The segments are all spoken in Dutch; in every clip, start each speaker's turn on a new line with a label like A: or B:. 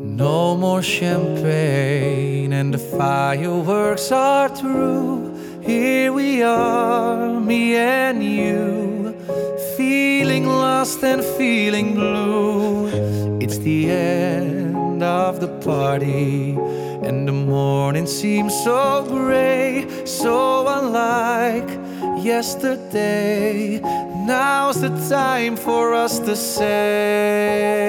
A: No more champagne and the fireworks are through. Here we are, me and you, feeling lost and feeling blue. It's the end of the party, and the morning seems so gray, so unlike yesterday. Now's the time for us to say.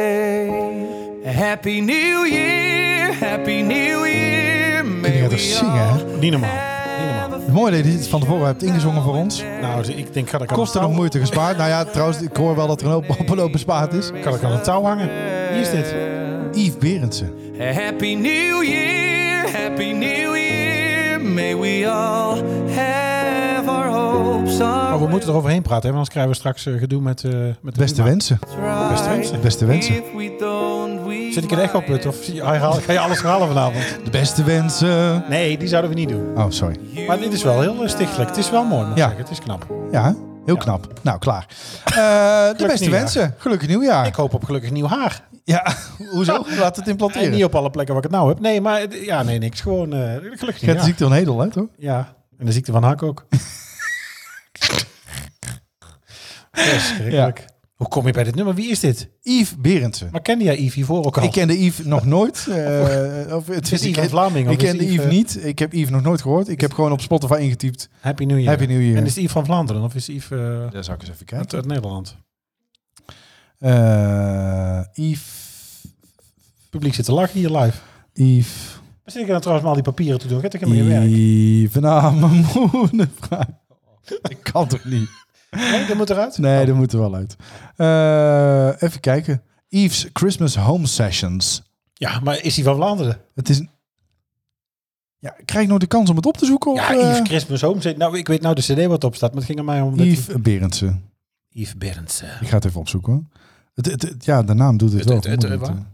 A: Happy New Year, Happy New Year. May
B: Die gaat
A: we
B: er zingen, hè?
A: all
C: Niet normaal.
A: have a
B: Mooi dat je dit van tevoren hebt ingezongen voor ons.
C: Nou, ik denk, kan ik aan
B: Kosten
C: de
B: nog
C: touw-
B: moeite gespaard. Nou ja, trouwens, ik hoor wel dat er een hoop, hoop, hoop bespaard is.
C: Kan ik aan het touw hangen? Wie is dit?
B: Yves Berendsen.
A: Happy New Year, Happy New Year. May we all have our hopes
C: Oh, we
A: on
C: moeten er overheen praten, hè, want anders krijgen we straks eh, gedoe met, eh met de
B: Beste wensen.
A: best
C: wensen.
B: Beste wensen.
A: If we don't, we
C: Zit ik er echt op het? Of zie- haal- haal- ga je alles herhalen vanavond?
B: De beste wensen.
C: Nee, die zouden we niet doen.
B: Oh, sorry.
C: Maar dit is wel heel eh, stichtelijk. Het is wel mooi, moet ik
B: Ja.
C: zeggen. Het is knap.
B: Ja, heel knap. Nou, klaar. Eh, de beste
C: nieuwjaar.
B: wensen. Gelukkig nieuwjaar.
C: Ik hoop op gelukkig nieuw haar.
B: Ja, hoezo? Nou, Laat het
C: En niet
B: implanteren.
C: op alle plekken waar ik het nou heb. Nee, maar het- ja, nee, niks. Gewoon eh, gelukkig
B: Je hebt
C: nieuw
B: de ziekte van Hedel, hè, toch?
C: Ja, en de ziekte van Hak ook. Verschrikkelijk. Hoe kom je bij dit nummer? Wie is dit?
B: Yves Berendsen.
C: Maar kende jij Yves hiervoor ook al?
B: Ik kende Yves nog nooit. eh, of, het
C: Is Yves een Vlaming, of
B: Ik
C: is
B: kende
C: Yves,
B: Yves
C: eh,
B: niet. Ik heb Yves nog nooit gehoord. Ik heb gewoon op Spotify ingetypt.
C: Happy New Year.
B: Happy New Year.
C: En is het Yves van Vlaanderen of is Yves eh,
B: Daar zou ik eens even kijken.
C: uit, uit Nederland?
B: Eh Yves.
C: Het publiek zit te lachen hier live.
B: Yves.
C: Waar zit ik dan trouwens maar al die papieren te doen? Gaat ik helemaal geen werk?
B: Yves. Nou, mijn moeder vraagt. Dat kan toch niet?
C: Nee, dat moet eruit.
B: Nee, dat moet er wel uit. Eh, even kijken. Yves Christmas Home Sessions.
C: Ja, maar is hij van Vlaanderen?
B: Het is. een- Ja, ik krijg ik nog de kans om het op te zoeken? Of,
C: Ja,
B: eh,
C: Yves Christmas Home. zit- Nou, ik weet nou de cd wat op staat, maar het ging er mij om... dat-
B: Yves Berendsen.
C: Yves Berendsen.
B: Ik ga het even opzoeken hoor. Het, het, het- ja, de naam doet het,
C: Het-
B: wel.
C: het- het-
B: vermoedelijk,
C: waar?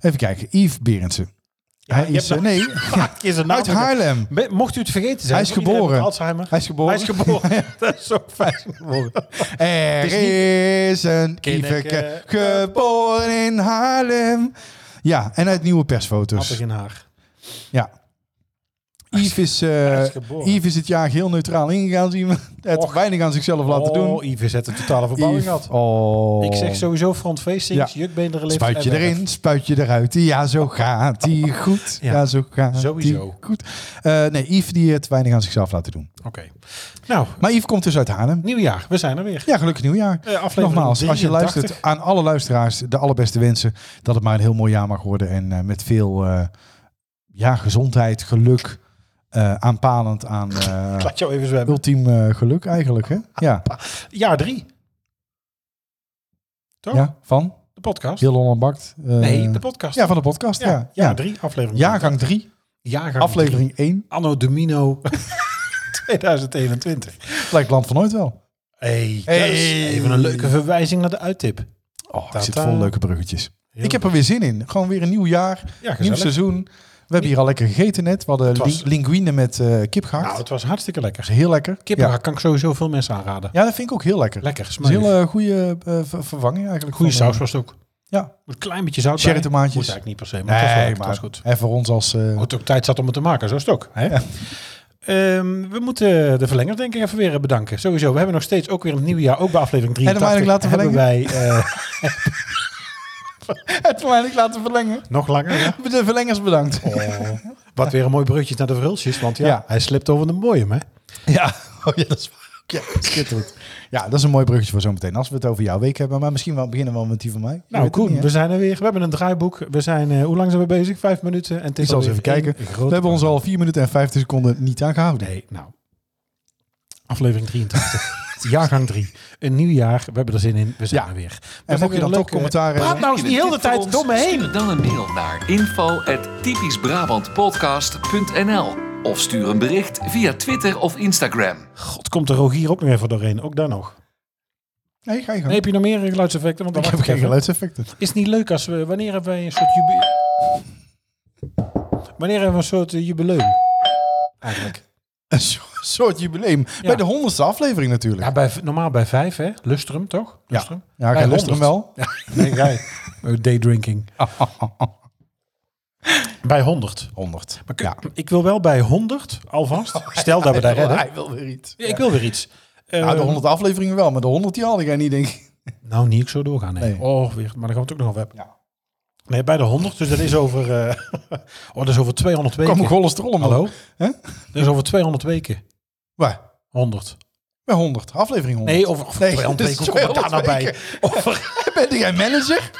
B: eh. even kijken. Yves Berendsen. Hij
C: je
B: is.
C: hebt
B: eh, Nee,
C: Vaak is er nou
B: uit Haarlem.
C: Be- Mocht u het vergeten zijn.
B: Hij is
C: want iedereen
B: geboren.
C: heeft Alzheimer.
B: Hij is geboren.
C: Hij is geboren. dat is zo fijn.
B: Er
C: Het
B: is,
C: is niet-
B: een
C: Kinneke.
B: kieveke geboren in Haarlem. Ja, en uit nieuwe
C: Appig
B: persfoto's.
C: in haar.
B: Ja. Yves is, eh,
C: hij is geboren.
B: Yves is het jaar heel neutraal ingegaan. Zien we het
C: Och.
B: weinig aan zichzelf laten
C: Oh,
B: doen.
C: Yves is het een totale verbouwing
B: Yves-
C: gehad.
B: oh.
C: Ik zeg sowieso front facings,
B: Ja.
C: jukbeenderen lift
B: Spuit je
C: en werf.
B: erin, spuit je eruit. Ja, zo gaat die goed. Ja,
C: Ja,
B: zo gaat
C: sowieso.
B: die goed. Eh, nee, Yves die het weinig aan zichzelf laten doen.
C: Oké. Nou,
B: Maar Yves komt dus uit Haarlem.
C: nieuwjaar. We zijn er weer.
B: Ja, gelukkig nieuwjaar.
C: Eh, aflevering
B: Nogmaals, als je
C: 83.
B: luistert aan alle luisteraars, de allerbeste wensen. Dat het maar een heel mooi jaar mag worden. En eh, met veel eh, ja, gezondheid, geluk, eh, aanpalend aan eh,
C: Ik laat jou even zwemmen.
B: ultiem eh, geluk eigenlijk. Hè? Ja.
C: Jaar drie. Toch?
B: ja, van
C: De podcast.
B: Heel Holland Bakt. eh,
C: nee, de podcast.
B: ja, van de podcast. Ja, ja,
C: jaar drie, aflevering.
B: Jaargang 3,
C: Jaargang drie.
B: aflevering 1.
C: Anno Domino 2021.
B: Lijkt Land van Ooit wel.
C: Hey,
B: Hey.
C: dat is even een leuke verwijzing naar de uittip.
B: Oh, ik
C: Ta-ta.
B: zit vol leuke bruggetjes.
C: Heel
B: ik heb er weer zin in. Gewoon weer een nieuw jaar,
C: Ja,
B: nieuw
C: gezellig.
B: seizoen. We hebben hier al lekker gegeten net. We hadden
C: Het was-
B: li- linguine met eh, kip gehakt.
C: Nou, het was hartstikke lekker.
B: Dat is heel lekker.
C: Kippen
B: Ja.
C: kan ik sowieso veel mensen aanraden.
B: ja, dat vind ik ook heel lekker.
C: Lekker,
B: Dat is een
C: smerig.
B: hele goede eh, ver- vervanging eigenlijk.
C: Goede
B: van,
C: saus
B: eh,
C: was het ook.
B: Ja.
C: Moet een klein beetje zout
B: Cherry
C: bij.
B: tomaatjes.
C: Moest eigenlijk niet per se, maar het was wel
B: Nee,
C: lekker, het
B: maar
C: was goed.
B: en voor ons als... eh,
C: Goed ook tijd zat om het te maken, zo is het ook. Hè?
B: Ja.
C: Ehm, we moeten de verlenger denk ik even weer eh, bedanken. Sowieso, we hebben nog steeds ook weer in het nieuwe jaar, ook bij aflevering
B: En hem
C: 83.
B: eigenlijk laten
C: hebben wij eh,
B: het verlenging laten verlengen.
C: eh, nog langer. ja.
B: De verlengers bedankt.
C: Oh, wat weer een mooi bruggetje naar de verhulsjes, want ja,
B: Ja.
C: hij slipt over de mooie, hè?
B: Ja. Oh, ja, dat is waar. Ja, schitterend. Ja, dat is een mooi bruggetje voor zometeen. Als we het over jouw week hebben. Maar misschien wel beginnen we met die van mij. Je weet
C: Nou,
B: het
C: Koen,
B: niet, hè?
C: we zijn er weer. We hebben een draaiboek. We zijn, eh, hoe lang zijn we bezig? Vijf minuten. En het is
B: Ik dus zal eens even
C: alweer één
B: kijken.
C: grote-
B: We hebben ons al 4 minuten en 50 seconden niet aan gehouden.
C: Nee, nou. Aflevering 83. jaargang 3. Een nieuw jaar. We hebben er zin in. We zijn
B: Ja.
C: er weer. We
B: En
C: zijn
B: mocht je
C: weer een
B: dan toch
C: leuke-
B: commentaar
C: Praat
B: hebben...
C: nou eens niet heel de tijd door me heen.
D: Stuur dan een mail naar info.typischbrabantpodcast.nl of stuur een bericht via Twitter of Instagram.
B: eh,
C: God, komt de Rogier ook nog even doorheen. Ook daar nog.
B: Nee, ga je gang.
C: Nee, heb je nog meer geluidseffecten? Want dan
B: ik heb
C: wacht
B: geen
C: even.
B: geluidseffecten.
C: Is het niet leuk als we... Wanneer hebben wij een soort jubileum? Wanneer hebben we een soort eh, jubileum? Eigenlijk.
B: Een so- soort jubileum. Bij de honderdste aflevering natuurlijk.
C: Ja, bij, normaal bij vijf, hè? Lustrum, toch? Lustrum.
B: Ja,
C: Bij
B: ga lust
C: 100.
B: hem wel.
C: Nee, jij. Eh, Daydrinking. Bij 100.
B: 100.
C: Maar kun- ik wil wel bij 100 alvast. Stel dat we daar redden.
B: Oh, Hij wil weer iets.
C: Ja, Ik wil weer iets. Eh,
B: Nou, de 100 afleveringen wel, maar de 100 die had ik niet, denk ik.
C: Nou, niet ik zo doorgaan. Nee.
B: Nee.
C: Oh, weer, maar dan gaan we het ook nog over hebben.
B: Ja.
C: Nee, bij de 100. Dus dat is over, eh, oh, dat is over 200 weken.
B: Kom cholesterol omhoog.
C: Hallo?
B: Hè?
C: Dat is over 200 weken.
B: Waar?
C: 100.
B: Bij 100. Aflevering 100.
C: Nee, over over
B: Nee,
C: 200
B: dus
C: weken. Hoe kom ik daar nou
B: 200
C: bij? Over,
B: Ben jij manager?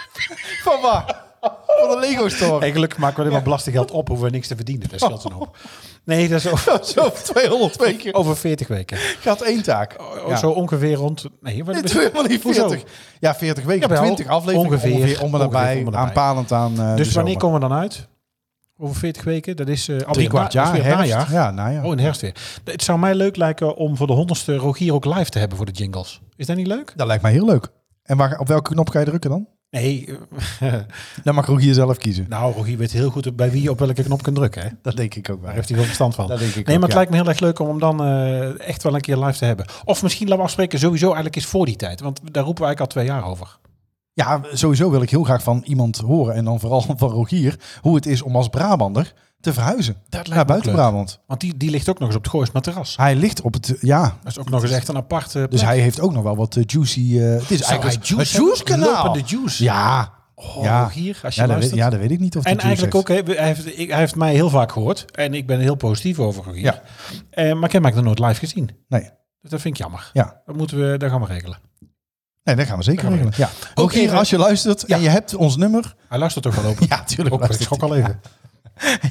B: Van waar? Van de Lego Store.
C: hey, gelukkig maken we alleen maar belastinggeld op. Hoeven we niks te verdienen. Dat scheelt een hoop. Nee, dat is over,
B: Zo, 200 weken.
C: over 40 weken.
B: Gaat één taak.
C: Oh,
B: Ja.
C: Zo ongeveer rond... Nee, wat-
B: Dit is helemaal niet
C: Hoezo?
B: 40. Ja, 40 weken.
C: Jawel,
B: 20 afleveringen
C: ongeveer,
B: ongeveer, om en
C: ongeveer
B: nabij.
C: om en nabij.
B: aanpalend aan eh, de
C: Dus wanneer
B: zomer.
C: komen we dan uit? Over 40 weken? Dat is eh alweer
B: Drie kwart
C: na- dat
B: jaar,
C: is weer het
B: herfst.
C: najaar.
B: Ja, najaar.
C: Oh, in de herfst weer. Het zou mij leuk lijken om voor de honderdste Rogier ook live te hebben voor de jingles. Is dat niet leuk?
B: Dat lijkt mij heel leuk. En waar, op welke knop ga je drukken dan?
C: Nee. eh,
B: Dan mag Rogier zelf kiezen.
C: nou, Rogier weet heel goed bij wie je op welke knop kunt drukken. Hè?
B: Dat denk ik ook
C: Daar
B: wel.
C: heeft hij wel verstand van.
B: Dat denk ik
C: nee,
B: ook,
C: maar het
B: ja.
C: lijkt me heel erg leuk om hem dan eh, echt wel een keer live te hebben. Of misschien laten we afspreken sowieso eigenlijk eens voor die tijd. Want daar roepen we eigenlijk al twee jaar over.
B: Ja, sowieso wil ik heel graag van iemand horen. En dan vooral van Rogier. Hoe het is om als Brabander te verhuizen.
C: lijkt me
B: naar
C: ook
B: buiten
C: leuk.
B: Brabant.
C: Want die, die ligt ook nog eens op het Goois Materas.
B: Hij ligt op het... Ja,
C: Dat is ook nog eens echt een aparte plek.
B: Dus hij heeft ook nog wel wat eh, juicy. eh, het is
C: Zou
B: eigenlijk
C: hij
B: een
C: juice hebben?
B: juice-kanaal.
C: Lopende juice? Oh,
B: Ja. ja.
C: Rogier, als je
B: ja, dat
C: luistert.
B: weet, ja, dat weet ik niet of hij
C: En
B: juice
C: eigenlijk ook,
B: heeft.
C: hè, hij heeft, ik- hij heeft mij heel vaak gehoord. En ik ben heel positief over Rogier.
B: Ja.
C: Eh, maar ik heb hem eigenlijk nog nooit live gezien.
B: Nee.
C: Dus dat vind ik jammer.
B: Ja.
C: Dat, moeten we, dat gaan we regelen.
B: Nee, dat gaan we zeker
C: Dat gaan we
B: regelen. Ja.
C: Ook
B: Rogier,
C: even-
B: als je luistert en je hebt ons nummer.
C: Hij luistert toch wel open.
B: Ja, tuurlijk.
C: Ook, ik
B: luistert
C: schrok
B: hij.
C: al even. Ja.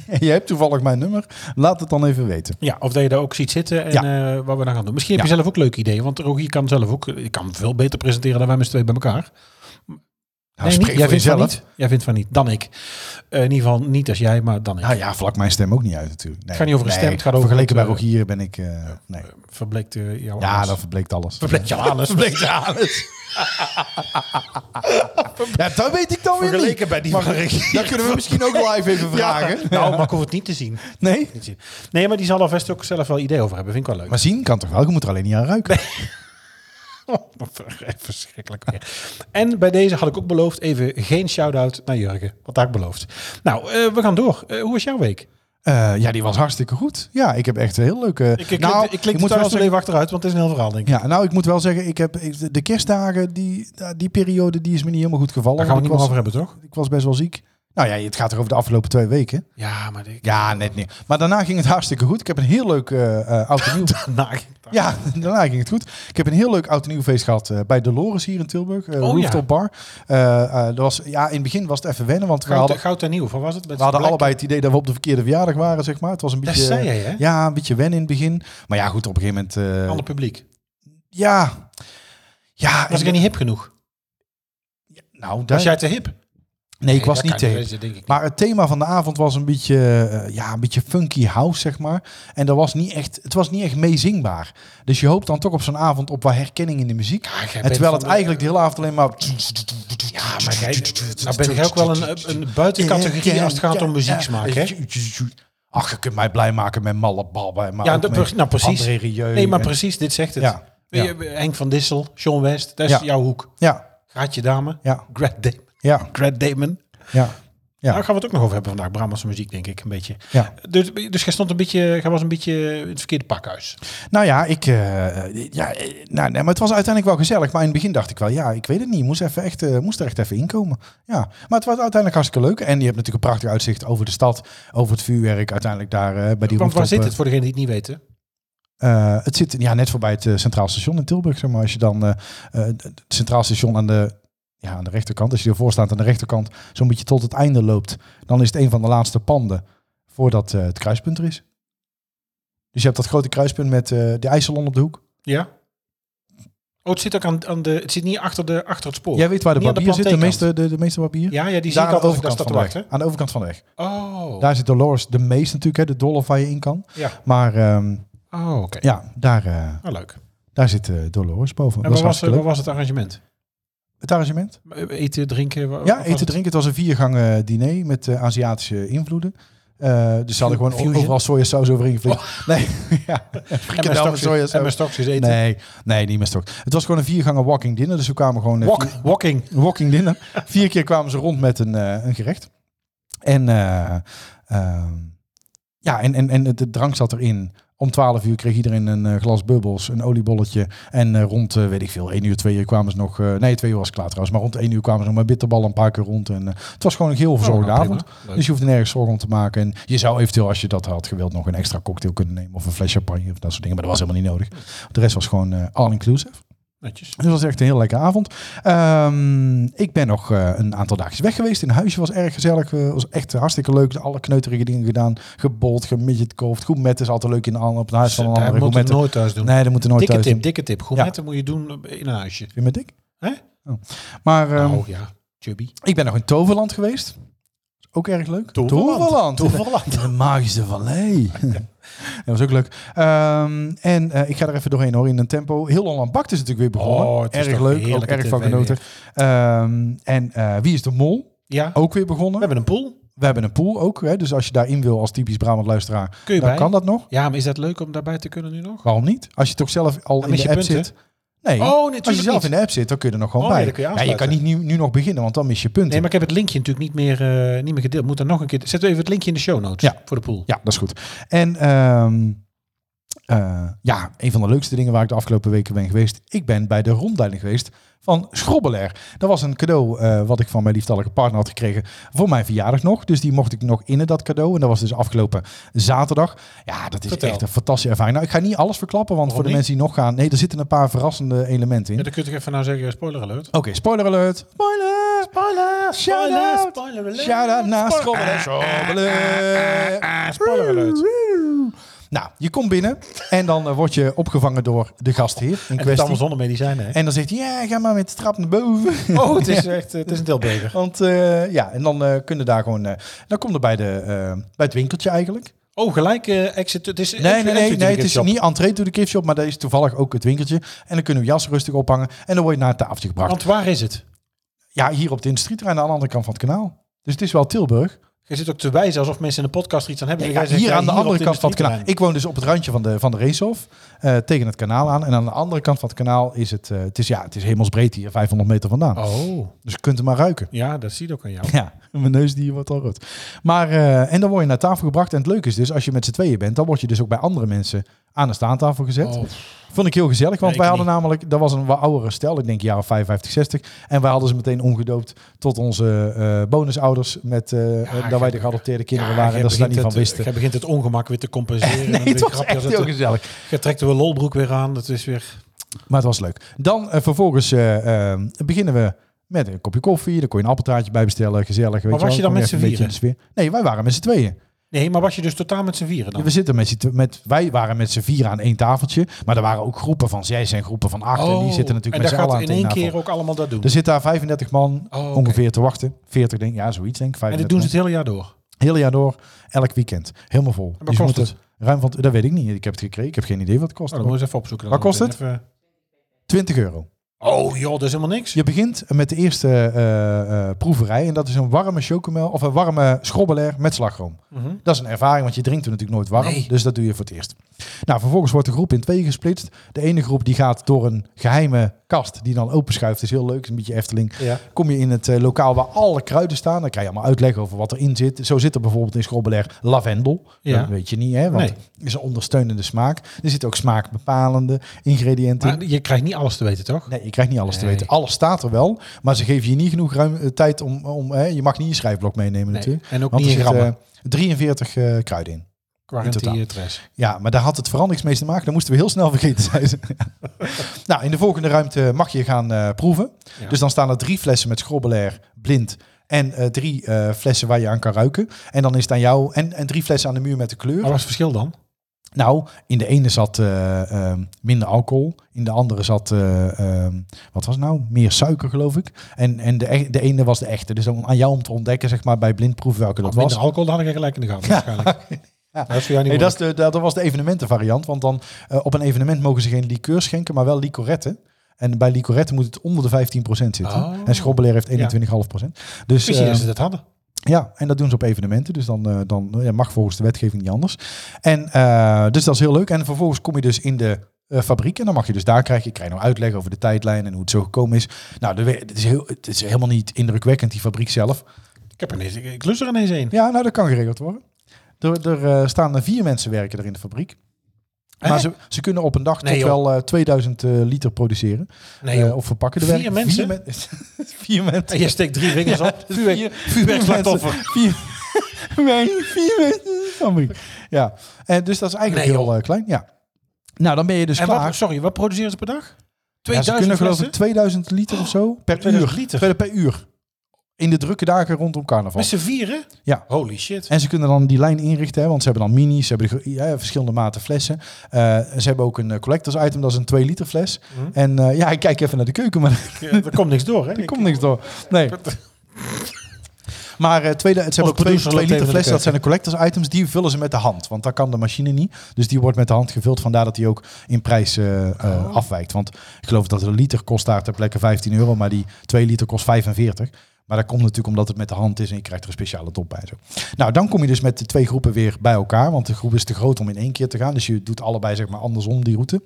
B: En je hebt toevallig mijn nummer. Laat het dan even weten.
C: of dat je daar ook ziet zitten en eh, wat we dan gaan doen. Misschien heb je
B: Ja.
C: zelf ook leuke ideeën. Want Rogier kan zelf ook, ik kan veel beter presenteren dan wij met z'n tweeën bij elkaar.
B: Nou,
C: Nee, niet?
B: spreek
C: Jij
B: voor
C: vindt van
B: jezelf.
C: niet. Jij vindt van niet. Dan ik. Eh, in ieder geval niet als jij, maar dan ik.
B: Nou ja, vlak mijn stem ook niet uit natuurlijk. Nee.
C: Het gaat niet over een
B: Nee,
C: stem, het gaat over
B: Vergeleken bij
C: het, eh,
B: Rogier ben ik... eh, nee.
C: Verbleekt eh, jouw
B: Ja,
C: angst.
B: dat verbleekt alles.
C: verbleekt jouw anus. Verbleekt jouw
B: Ja, dat weet ik dan weer
C: Vergeleken
B: niet.
C: bij die
B: Maar
C: van Rogier.
B: Dat kunnen we misschien ook live even vragen.
C: Nou, maar ik hoef het niet te zien.
B: Nee?
C: Niet zien. Nee, maar die zal alvast ook zelf wel idee over hebben. Vind ik wel leuk.
B: Maar zien kan toch wel? Je moet er alleen niet aan ruiken.
C: eh, Verschrikkelijk weer. En bij deze had ik ook beloofd even geen shout-out naar Jurgen. Wat had ik beloofd. Nou, eh, we gaan door. Eh, hoe was jouw week?
B: Eh, ja, die was hartstikke goed. Ja ik heb echt een heel leuke...
C: Ik, ik, nou, ik, klik moet
B: moet
C: wel
B: wel
C: eens
B: zeggen,
C: even achteruit, want het is een heel verhaal, denk ik.
B: ja, nou, ik moet wel zeggen, ik heb ik- de kerstdagen, die, die periode, die is me niet helemaal goed gevallen.
C: Daar gaan we het
B: ik,
C: niet meer
B: was,
C: over hebben, toch?
B: ik was best wel ziek. Nou ja, het gaat er over de afgelopen twee weken.
C: Ja, maar ik...
B: Ja, net niet. Maar daarna ging het hartstikke goed. Ik heb een heel leuk eh eh, oud en nieuw...
C: Nou,
B: Ja, daarna ging het goed. Ik heb een heel leuk oud en nieuw feest gehad eh, bij Dolores hier in Tilburg. eh
C: Oh,
B: rooftop
C: ja.
B: Bar. Eh, eh, dat was, ja, in het begin was het even wennen, want we
C: goud,
B: hadden,
C: goud en nieuw, van was het? Met
B: we hadden
C: Black-
B: allebei het idee dat we op de verkeerde verjaardag waren, zeg maar. Het was een
C: Dat
B: beetje...
C: zei jij, hè?
B: Ja, een beetje wennen in het begin. Maar ja, goed, op een gegeven moment... eh,
C: Ander publiek.
B: ja. Ja.
C: Was
B: en-
C: ik er niet hip genoeg?
B: Nou, daar,
C: Was jij te hip?
B: nee, ik was
C: dat
B: niet
C: kan
B: tegen.
C: dat denk ik niet.
B: Maar het thema van de avond was een beetje, eh, ja, een beetje funky house, zeg maar. En dat was niet echt, het was niet echt meezingbaar. Dus je hoopt dan toch op zo'n avond op wat herkenning in de muziek.
C: Ja, jij
B: en
C: bent
B: terwijl
C: van
B: het
C: de-
B: eigenlijk de hele avond alleen maar...
C: Ja, maar kijk, nou ben ik ook wel een, een buitencategorie als het gaat om muzieksmaak, hè?
B: Ach, je kunt mij blij maken met malle ballen. Maar
C: Ja,
B: ook
C: dat-
B: met
C: nou, precies.
B: André Rieu
C: Nee, maar
B: en-
C: precies, dit zegt het.
B: Ja, ja.
C: Je- Henk van Dissel, John West, dat is
B: Ja.
C: jouw hoek.
B: Ja,
C: Gaatje dame.
B: ja,
C: Greg Damon.
B: ja,
C: Greg Damon.
B: ja. Ja.
C: Daar gaan we het ook nog over hebben vandaag. Brabantse muziek, denk ik, een beetje.
B: Ja.
C: Dus, dus jij stond een beetje, jij was een beetje in het verkeerde pakhuis.
B: Nou ja, ik, eh, ja eh, nou, nee, maar het was uiteindelijk wel gezellig. Maar in het begin dacht ik wel, ja, ik weet het niet. Moest, even echt, eh, moest er echt even inkomen. Ja, maar het was uiteindelijk hartstikke leuk. En je hebt natuurlijk een prachtig uitzicht over de stad, over het vuurwerk. Uiteindelijk daar eh, bij
C: Want
B: die
C: waar
B: rooftop,
C: zit het, voor degenen die het niet weten?
B: eh, het zit ja, net voorbij het eh, Centraal Station in Tilburg. Zeg maar. Als je dan eh, eh, het Centraal Station aan de, ja, aan de rechterkant, als je ervoor staat aan de rechterkant, zo'n beetje tot het einde loopt, dan is het een van de laatste panden voordat eh, het kruispunt er is. Dus je hebt dat grote kruispunt met eh, de IJsselon op de hoek.
C: Ja? Oh, het zit ook aan, aan de. Het zit niet achter, de, achter het spoor.
B: Jij weet waar de
C: Oh. Niet aan de
B: barbier zit, de
C: planteekant.
B: meeste, de, de meeste barbier?
C: Ja, ja, die zie
B: Daar
C: ik
B: aan de
C: al als ik daar
B: overkant
C: sta te
B: van de weg.
C: wachten.
B: Aan de overkant van de weg.
C: Oh.
B: Daar zit Dolores de meest natuurlijk, hè, de dollar waar je in kan.
C: Ja.
B: Maar ehm,
C: Oh, oké.
B: ja, daar, eh,
C: Nou, leuk.
B: daar zit eh, Dolores boven.
C: En
B: Dat
C: wat
B: is
C: was,
B: hartstikke
C: wat
B: leuk.
C: was het arrangement?
B: Het arrangement?
C: Eten, drinken? wa-
B: Ja,
C: wat was
B: eten,
C: het?
B: drinken. Het was een viergangen diner met eh, Aziatische invloeden. Eh, dus ze hadden gewoon
C: Fusion?
B: overal sojasaus over ingevliegd. Nee, ja.
C: Oh. En met
B: Frikandel met
C: stokjes, en met
B: sojasaus.
C: stokjes eten.
B: Nee, nee, niet meer stok. Het was gewoon een viergangen walking dinner. Dus we kwamen gewoon... eh,
C: Walk- walking.
B: Een walking dinner. Vier keer kwamen ze rond met een, eh, een gerecht. En eh, ehm, ja, en, en, en de drank zat erin. Om 12 uur kreeg iedereen een eh, glas bubbels, een oliebolletje. En eh, rond, eh, weet ik veel, 1 uur, 2 uur kwamen ze nog... eh, nee, 2 uur was ik klaar trouwens. Maar rond 1 uur kwamen ze nog met bitterballen een paar keer rond. En eh, het was gewoon een heel verzorgde
C: nou, prima.
B: avond.
C: Leuk.
B: Dus je hoefde nergens zorgen om te maken. En je zou eventueel, als je dat had gewild, nog een extra cocktail kunnen nemen. Of een fles champagne of dat soort dingen. Maar dat was helemaal niet nodig. De rest was gewoon eh, all-inclusive.
C: Netjes.
B: Dus dat was echt een heel lekkere avond. Ehm, ik ben nog eh, een aantal dagjes weg geweest. In huisje was erg gezellig. eh, was echt hartstikke leuk. Alle kneuterige dingen gedaan. Gebold, gemidgetkoofd. Gourmet is altijd leuk in, een- op het huis van een
C: Daar
B: andere
C: moet het
B: gourmet.
C: nooit thuis doen.
B: Nee, dat moeten we nooit
C: dikke
B: thuis
C: tip,
B: doen.
C: dikke tip. Gourmetten moet je doen in een huisje.
B: Weer met dik?
C: Hè?
B: Oh. Maar ehm,
C: oh ja, chubby.
B: ik ben nog in Toverland geweest. Ook erg leuk.
C: Toverland. Toverland.
B: De magische vallei. dat was ook leuk. Ehm, en eh, ik ga er even doorheen hoor, in een tempo. Heel Holland Bakt is natuurlijk weer begonnen.
C: Oh, het is
B: erg
C: toch
B: leuk, ook
C: heerlijke
B: erg van
C: TV
B: genoten. Ehm, en eh, Wie is de Mol?
C: Ja,
B: Ook weer begonnen.
C: we hebben een pool.
B: We hebben een pool ook. Hè? Dus als je daarin wil als typisch Brabant luisteraar,
C: Kun je
B: dan
C: bij?
B: kan dat nog.
C: Ja, maar is dat leuk om daarbij te kunnen nu nog?
B: Waarom niet? Als je toch zelf al in
C: mis
B: de
C: je
B: app
C: punten.
B: zit.
C: Oh,
B: Nee,
C: nee,
B: als je
C: tuurlijk
B: zelf
C: niet.
B: in de app zit, dan kun je er nog gewoon
C: Oh,
B: bij.
C: ja, dan kun je
B: ja, je kan
C: aansluiten.
B: niet nu, nu nog beginnen, want dan mis je punten.
C: Nee, maar ik heb het linkje natuurlijk niet meer, eh, niet meer gedeeld. Moet er nog een keer. Zetten we even het linkje in de show notes
B: Ja.
C: voor de pool.
B: Ja, dat is goed. En ehm, eh, ja, een van de leukste dingen waar ik de afgelopen weken ben geweest. Ik ben bij de rondleiding geweest van Schrobbelair. Dat was een cadeau eh, wat ik van mijn liefdallige partner had gekregen voor mijn verjaardag nog. Dus die mocht ik nog in dat cadeau. En dat was dus afgelopen zaterdag. Ja, dat is
C: Vertel.
B: echt een fantastische ervaring. Nou, ik ga niet alles verklappen, want voor de
C: niet?
B: mensen die nog gaan... Nee, er zitten een paar verrassende elementen in.
C: Ja, dan kun je toch even nou zeggen, spoiler alert.
B: Oké, spoiler alert. Spoiler!
C: Spoiler!
B: Shout-out. Shout-out naar Schrobbelen. Schrobbelen.
C: spoiler alert.
B: Nou, je komt binnen en dan eh, word je opgevangen door de gastheer in
C: En het is allemaal
B: kwestie.
C: zonder medicijnen, hè?
B: En dan zegt hij, ja, ga maar met de trap naar boven.
C: Oh, het is echt, eh, het is een deelbeker.
B: Want eh, ja, en dan eh, kunnen daar gewoon... eh, dan komt er bij, de, eh, bij het winkeltje eigenlijk.
C: Oh, gelijk eh, exit. Het is
B: Nee,
C: exit-
B: nee,
C: exit
B: nee, nee.
C: ticket
B: Het is
C: shop.
B: niet entree to the gift shop, maar dat is toevallig ook het winkeltje. En dan kunnen we jas rustig ophangen en dan word je naar het tafeltje gebracht.
C: Want waar is het?
B: ja, hier op de industrieterrein aan de andere kant van het kanaal. Dus het is wel Tilburg.
C: Je zit ook te wijzen alsof mensen in de podcast er iets aan hebben.
B: Ja,
C: En jij zegt,
B: hier
C: ja,
B: aan de
C: hier op
B: andere kant van het kanaal.
C: industrieterrein.
B: Ik woon dus op het randje van de, van de Racehof, eh, tegen het kanaal aan. En aan de andere kant van het kanaal is het, eh, het, is, ja, het is hemelsbreed hier, 500 meter vandaan.
C: Oh,
B: Dus je kunt het maar ruiken.
C: ja, dat zie ik ook aan jou.
B: Ja, mijn neus die wordt al rood. Maar, eh, en dan word je naar tafel gebracht. En het leuke is dus, als je met z'n tweeën bent, dan word je dus ook bij andere mensen aan de staantafel gezet.
C: Oh.
B: Vond ik heel gezellig, want
C: ik
B: wij hadden
C: niet.
B: namelijk, dat was een wat oudere stel, ik denk jaren 55, 60. En wij hadden ze meteen omgedoopt tot onze eh, bonusouders, met, eh, dat wij de geadopteerde kinderen waren en
C: jij
B: dat ze daar niet
C: begint
B: van
C: het-
B: wisten.
C: Jij begint het ongemak weer te compenseren.
B: Nee,
C: En
B: het
C: de
B: was
C: grapje
B: echt
C: dat
B: heel
C: het-
B: gezellig.
C: Je trekt er weer lolbroek weer aan. Dat is weer...
B: Maar het was leuk. Dan eh, vervolgens eh, eh, beginnen we met een kopje koffie. Daar kon je een appeltaartje bij bestellen. Gezellig. Weet
C: was
B: wel.
C: je dan
B: Kom
C: met
B: even
C: z'n
B: een beetje in de sfeer. Nee, wij waren met z'n tweeën.
C: Nee, maar was je dus totaal met z'n vieren dan?
B: We zitten met, z'n tw- met, wij waren met z'n vier aan één tafeltje. Maar er waren ook groepen van zes en groepen van acht. en die zitten
C: Oh, en dat
B: natuurlijk met z'n allen
C: gaat
B: aan
C: in
B: één
C: één
B: tafel. Dus-
C: keer ook allemaal dat doen.
B: Er zit daar 35 man
C: Oh, oké.
B: ongeveer te wachten. 40 denk ik. Ja, zoiets denk ik.
C: en dat doen ze
B: 35
C: het hele jaar door. Oh,
B: man. Heel jaar door. Elk weekend. Helemaal vol. Dus En
C: kost het?
B: Ruim van, dat weet ik niet. Ik heb het gekregen. Ik heb geen idee wat het kost.
C: Oh, dat moet je eens even opzoeken. dan
B: Wat kost
C: meteen even.
B: 20 euro.
C: Oh joh, dat is helemaal niks.
B: Je begint met de eerste eh, eh, proeverij. En dat is een warme chocomel of een warme schrobbelair met slagroom.
C: Mhm.
B: Dat is een ervaring, want je drinkt er natuurlijk nooit warm.
C: Nee.
B: Dus dat doe je voor het eerst. Nou, vervolgens wordt de groep in twee gesplitst. De ene groep die gaat door een geheime kast die dan openschuift. is heel leuk, is een beetje Efteling.
C: Ja.
B: Kom je in het eh, lokaal waar alle kruiden staan. Dan krijg je allemaal uitleg over wat erin zit. Zo zit er bijvoorbeeld in schrobbelair lavendel.
C: Ja.
B: Dat weet je niet, hè? Want
C: Nee.
B: het is een ondersteunende smaak. Er zitten ook smaakbepalende ingrediënten. in.
C: Maar je krijgt niet alles te weten, toch?
B: Nee, je krijgt niet alles te
C: Nee.
B: weten. Alles staat er wel, maar ze geven je niet genoeg ruim, eh, tijd om... om hè, je mag niet je schrijfblok meenemen natuurlijk.
C: En ook
B: Want er
C: niet in
B: zitten
C: grammen.
B: eh, 43 eh, kruiden in. totaal.
C: Quarantinetres.
B: Ja, maar daar had het vooral niks mee te maken. Dat moesten we heel snel vergeten, zei ze. nou, in de volgende ruimte mag je gaan eh, proeven.
C: Ja.
B: Dus dan staan er drie flessen met schrobbelair blind... En eh, drie eh, flessen waar je aan kan ruiken. En dan is het aan jou. En, en drie flessen aan de muur met de kleur.
C: Maar wat is het verschil dan?
B: Nou, in de ene zat eh, ehm, minder alcohol. In de andere zat, eh, ehm, wat was het nou? Meer suiker, geloof ik. En, en de, e- de ene was de echte. Dus om aan jou om te ontdekken, zeg maar, bij blindproef welke dat was.
C: Minder alcohol, dan had ik er gelijk in de gaten waarschijnlijk. Dat is voor jou niet
B: Nee, dat,
C: moeilijk.
B: is de, dat dat was de evenementenvariant. Want dan eh, op een evenement mogen ze geen liqueur schenken, maar wel licoretten. En bij licoretten moet het onder de 15% zitten.
C: Oh.
B: En schrobbeleer heeft 21,5%. Dus
C: Misschien
B: eh,
C: is het het hadden.
B: ja, en dat doen ze op evenementen. Dus dan, eh, dan ja, mag volgens de wetgeving niet anders. En eh, dus dat is heel leuk. En vervolgens kom je dus in de eh, fabriek. En dan mag je dus daar krijgen. Ik krijg nou uitleg over de tijdlijn en hoe het zo gekomen is. Nou, de, we- het, is heel, het is helemaal niet indrukwekkend, die fabriek zelf.
C: Ik heb er ineens, ik ik lust er ineens een.
B: Ja, nou, dat kan geregeld worden. Er, er eh, staan er vier mensen werken er in de fabriek.
C: Hè?
B: Maar ze, ze kunnen op een dag
C: Nee,
B: toch
C: joh.
B: wel eh, 2000 eh, liter produceren.
C: Nee, joh.
B: Eh, of verpakken de
C: Vier
B: werk-
C: mensen?
B: Vier, men- vier mensen.
C: En je steekt drie vingers op. Vuurwerk-
B: mensen.
C: Vuurwerkslachtoffer.
B: Vier, nee, vier mensen. Sorry. Ja, en dus dat is eigenlijk
C: Nee,
B: heel
C: joh.
B: eh, klein. Ja. Nou, dan ben je dus
C: En
B: klaar.
C: wat, sorry, wat produceren ze per dag?
B: Ja, ze
C: 2000
B: kunnen geloof
C: flessen?
B: ik 2000 liter of zo per
C: 2000
B: uur.
C: liter?
B: Per, per uur. In de drukke dagen rondom carnaval.
C: Met z'n vieren?
B: Ja.
C: Holy shit.
B: En ze kunnen dan die lijn inrichten, hè, want ze hebben dan minis, ze hebben de, gro- ja, verschillende maten flessen. Eh, ze hebben ook een eh, collectors item, dat is een 2 liter fles.
C: Mhm.
B: En eh, ja, ik kijk even naar de keuken, maar er
C: Eh, Er komt niks door, hè? Ik-
B: komt niks door. Nee. Maar eh, tweede, ze hebben ook twee,
C: producer loopt
B: 2
C: even naar
B: liter
C: de
B: flessen,
C: keuken.
B: dat zijn de collectors items, die vullen ze met de hand. Want dat kan de machine niet. Dus die wordt met de hand gevuld, vandaar dat die ook in prijs eh, eh,
C: Oh.
B: afwijkt. Want ik geloof dat een liter kost daar ter plekke 15 euro, maar die 2 liter kost 45. Maar dat komt natuurlijk omdat het met de hand is en je krijgt er een speciale top bij. en Zo. Nou, dan kom je dus met de twee groepen weer bij elkaar. Want de groep is te groot om in één keer te gaan. Dus je doet allebei zeg maar andersom die route.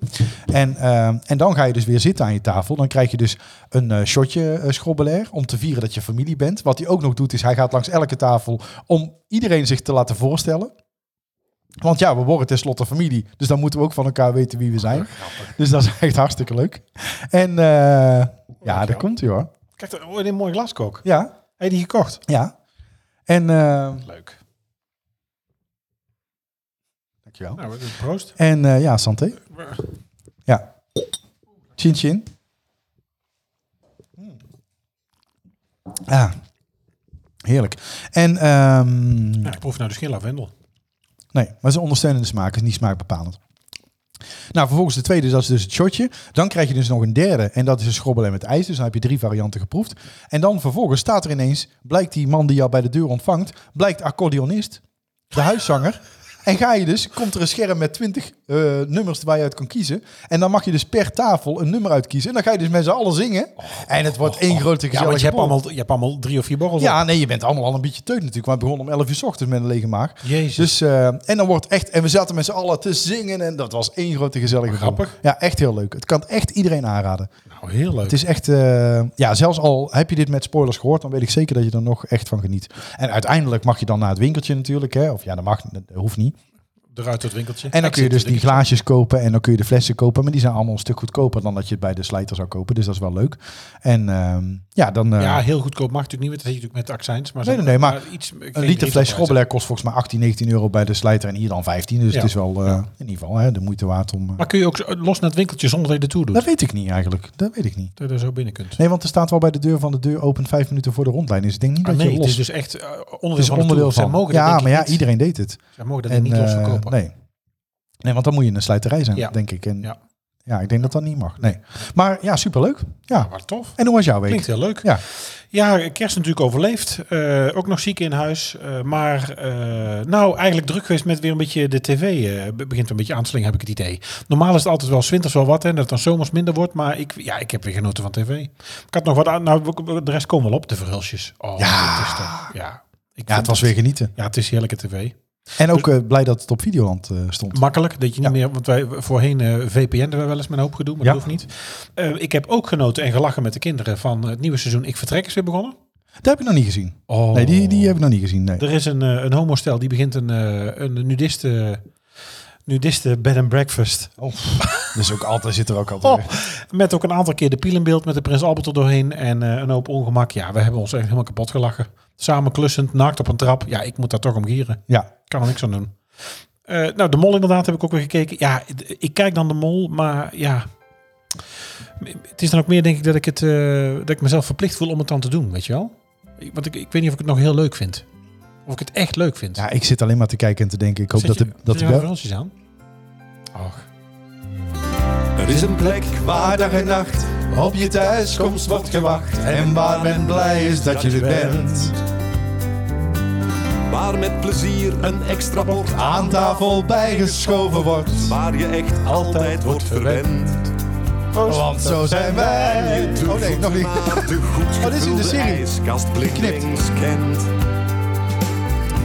B: En, ehm, en dan ga je dus weer zitten aan je tafel. Dan krijg je dus een eh, shotje eh schrobbelair om te vieren dat je familie bent. Wat hij ook nog doet is hij gaat langs elke tafel om iedereen zich te laten voorstellen. Want ja, we worden tenslotte familie. Dus dan moeten we ook van elkaar weten wie we zijn. Dus dat is echt hartstikke leuk. En eh, ja, daar komt hij hoor.
C: Kijk, er- oh, een mooi glaskook. Heb
B: Ja,
C: je die gekocht?
B: ja. En, eh,
C: Leuk.
B: Dankjewel.
C: Nou, eh, proost.
B: En eh, ja, santé. Ja. Chin chin. Ja. Ah. Heerlijk. En ehm,
C: Ja, ik proef nou dus geen lavendel.
B: nee, maar het is een ondersteunende smaak. Het is niet smaakbepalend. Nou, vervolgens de tweede, dat is dus het shotje. Dan krijg je dus nog een derde. En dat is een schrobbelen met ijs. Dus dan heb je drie varianten geproefd. En dan vervolgens staat er ineens, blijkt die man die jou bij de deur ontvangt, blijkt accordeonist, de huiszanger. En ga je dus, komt er een scherm met 20 eh, nummers waar je uit kan kiezen. En dan mag je dus per tafel een nummer uitkiezen. En dan ga je dus met z'n allen zingen. en het wordt één grote
C: Oh, Ja, want
B: gezellige
C: je hebt,
B: borrel.
C: allemaal, je hebt allemaal drie of vier borrels op.
B: Ja, nee, je bent allemaal al een beetje teut natuurlijk. Want we begonnen om 11 uur 's ochtends met een lege maag.
C: Jezus.
B: Dus, eh, en dan wordt echt, en we zaten met z'n allen te zingen en dat was één grote gezellige
C: Grappig.
B: groep. Ja, echt heel leuk. Het kan echt iedereen aanraden.
C: Nou, heel leuk.
B: Het is echt, eh, ja, zelfs al heb je dit met spoilers gehoord, dan weet ik zeker dat je er nog echt van geniet. En uiteindelijk mag je dan naar het winkeltje natuurlijk, hè? of ja, dat mag, dat hoeft niet.
C: Eruit het winkeltje.
B: En dan kun je dus
C: Exit,
B: die glaasjes kopen en dan kun je de flessen kopen, maar die zijn allemaal een stuk goedkoper dan dat je het bij de slijter zou kopen, dus dat is wel leuk. En ehm, ja, dan... eh,
C: Ja, heel goedkoop mag natuurlijk niet, want dat zit natuurlijk met de accijns. Maar
B: Nee,
C: zo-
B: nee, nee, maar
C: iets,
B: Een liter fles schrobbelair kost volgens mij 18, 19 euro bij de slijter en hier dan 15. Dus
C: Ja.
B: het is wel eh, in ieder geval hè, de moeite waard om... eh,
C: Maar kun je ook zo- los naar het winkeltje zonder dat je ertoe doet?
B: dat weet ik niet eigenlijk. Dat weet ik niet.
C: Dat je er zo binnen kunt.
B: Nee, want er staat wel bij de deur van de deur open vijf minuten voor de rondlijn. Dus ik denk niet
C: Ah,
B: dat
C: nee,
B: je
C: het
B: los...
C: is dus echt eh, onderdeel,
B: het is
C: van de tour. Zij mogen dat
B: ja,
C: denk ik
B: maar ja,
C: niet.
B: iedereen deed het.
C: Zij mogen dat
B: en,
C: niet los
B: eh,
C: verkopen.
B: nee. nee, want dan moet je een slijterij zijn,
C: Ja.
B: denk ik. En,
C: Ja.
B: ja. ik denk dat dat niet mag. Nee. Maar ja, superleuk. Ja.
C: Maar Ah, tof.
B: En hoe was jouw week?
C: Klinkt heel leuk.
B: Ja.
C: Ja, kerst natuurlijk overleefd. Eh, ook nog ziek in huis. Eh, maar eh, nou, eigenlijk druk geweest met weer een beetje de tv. eh, be- begint een beetje aan te slingen, heb ik het idee. Normaal is het altijd wel 's winters wel wat. En dat het dan zomers minder wordt. Maar ik, ja, ik heb weer genoten van tv. Ik had nog wat aan. Nou, we- de rest komen wel op. De verhulsjes. Oh,
B: Ja.
C: dit is toch- ja. Ik
B: Ja,
C: vind
B: het was weer genieten.
C: Ja, het is heerlijke tv.
B: En ook eh, blij dat het op Videoland eh, stond.
C: Makkelijk, dat je niet
B: Ja.
C: meer... Want wij voorheen eh VPN'den we wel eens met een hoop gedoe, maar dat
B: Ja.
C: hoeft niet. Eh, ik heb ook genoten en gelachen met de kinderen van het nieuwe seizoen Ik Vertrek is weer begonnen.
B: Dat heb ik nog niet gezien.
C: Oh.
B: Nee, die, eh, die heb ik nog niet gezien. Nee.
C: Er is een, eh, een homostel die begint een, eh, een nudiste, nudiste bed and breakfast.
B: Dus ook altijd zit er ook altijd.
C: Oh, met ook een aantal keer de piel in beeld met de Prins Albert er doorheen en eh, een hoop ongemak. Ja, we hebben ons echt helemaal kapot gelachen. Samen klussend, naakt op een trap. Ja, ik moet daar toch om gieren.
B: Ja,
C: Kan er niks aan doen. Eh, nou, de mol inderdaad heb ik ook weer gekeken. Ja, d- ik kijk dan de mol, maar ja. m- Het is dan ook meer denk ik dat ik, het, eh, dat ik mezelf verplicht voel om het dan te doen, weet je wel? Ik- Want ik, ik weet niet of ik het nog heel leuk vind. Of ik het echt leuk vind.
B: ja, ik zit alleen maar te kijken en te denken. Ik hoop
C: Zet
B: dat
C: je-
B: de, dat
C: zet
B: de
C: je
B: bel-
C: wel verhaaltjes aan? Och.
E: Er is een plek waar dag en nacht op je thuiskomst wordt gewacht. En waar men blij is dat je er bent.
A: Waar met plezier een extra bord aan
E: Aan tafel bijgeschoven wordt.
A: Waar je echt altijd wordt verwend.
E: Want zo zijn wij. Oh nee, nog niet.
A: Maar de goed
B: Oh, dit is in
A: gevulde
B: de serie.
A: ijskast blindelings kent.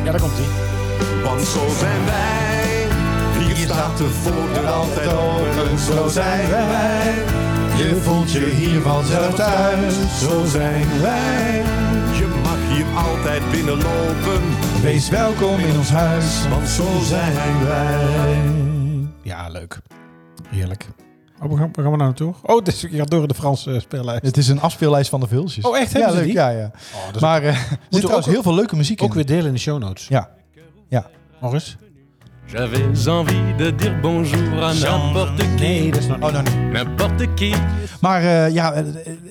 C: Ja, daar komt ie.
A: Want zo zijn wij. Hier
E: Hier
A: staat
E: staat de voordeur altijd open. Zo zijn wij.
A: wij.
E: Je voelt je hier vanzelf thuis. Zo zijn wij.
A: Je mag hier altijd binnenlopen.
E: Wees welkom in ons huis. Want zo zijn wij.
C: Ja, leuk. Heerlijk. Oh, we gaan, we gaan we naar naartoe? Oh, dus je gaat door in de Franse eh, speellijst.
B: Het is een afspeellijst van de Vulsjes.
C: Oh, echt?
B: Ja,
C: Hebben ze
B: leuk.
C: die?
B: Ja, ja.
C: dat is-
B: maar eh, er zit trouwens
C: dus- ook-
B: heel veel leuke muziek
C: Ook
B: in.
C: weer delen in de show notes.
B: Ja. Ja.
C: Nog eens.
F: J'avais envie de dire bonjour à n'importe
C: Nee,
F: qui,
C: dat is nog niet.
B: Oh, nou, nee.
F: n'importe qui.
B: Maar eh, ja, eh, eh,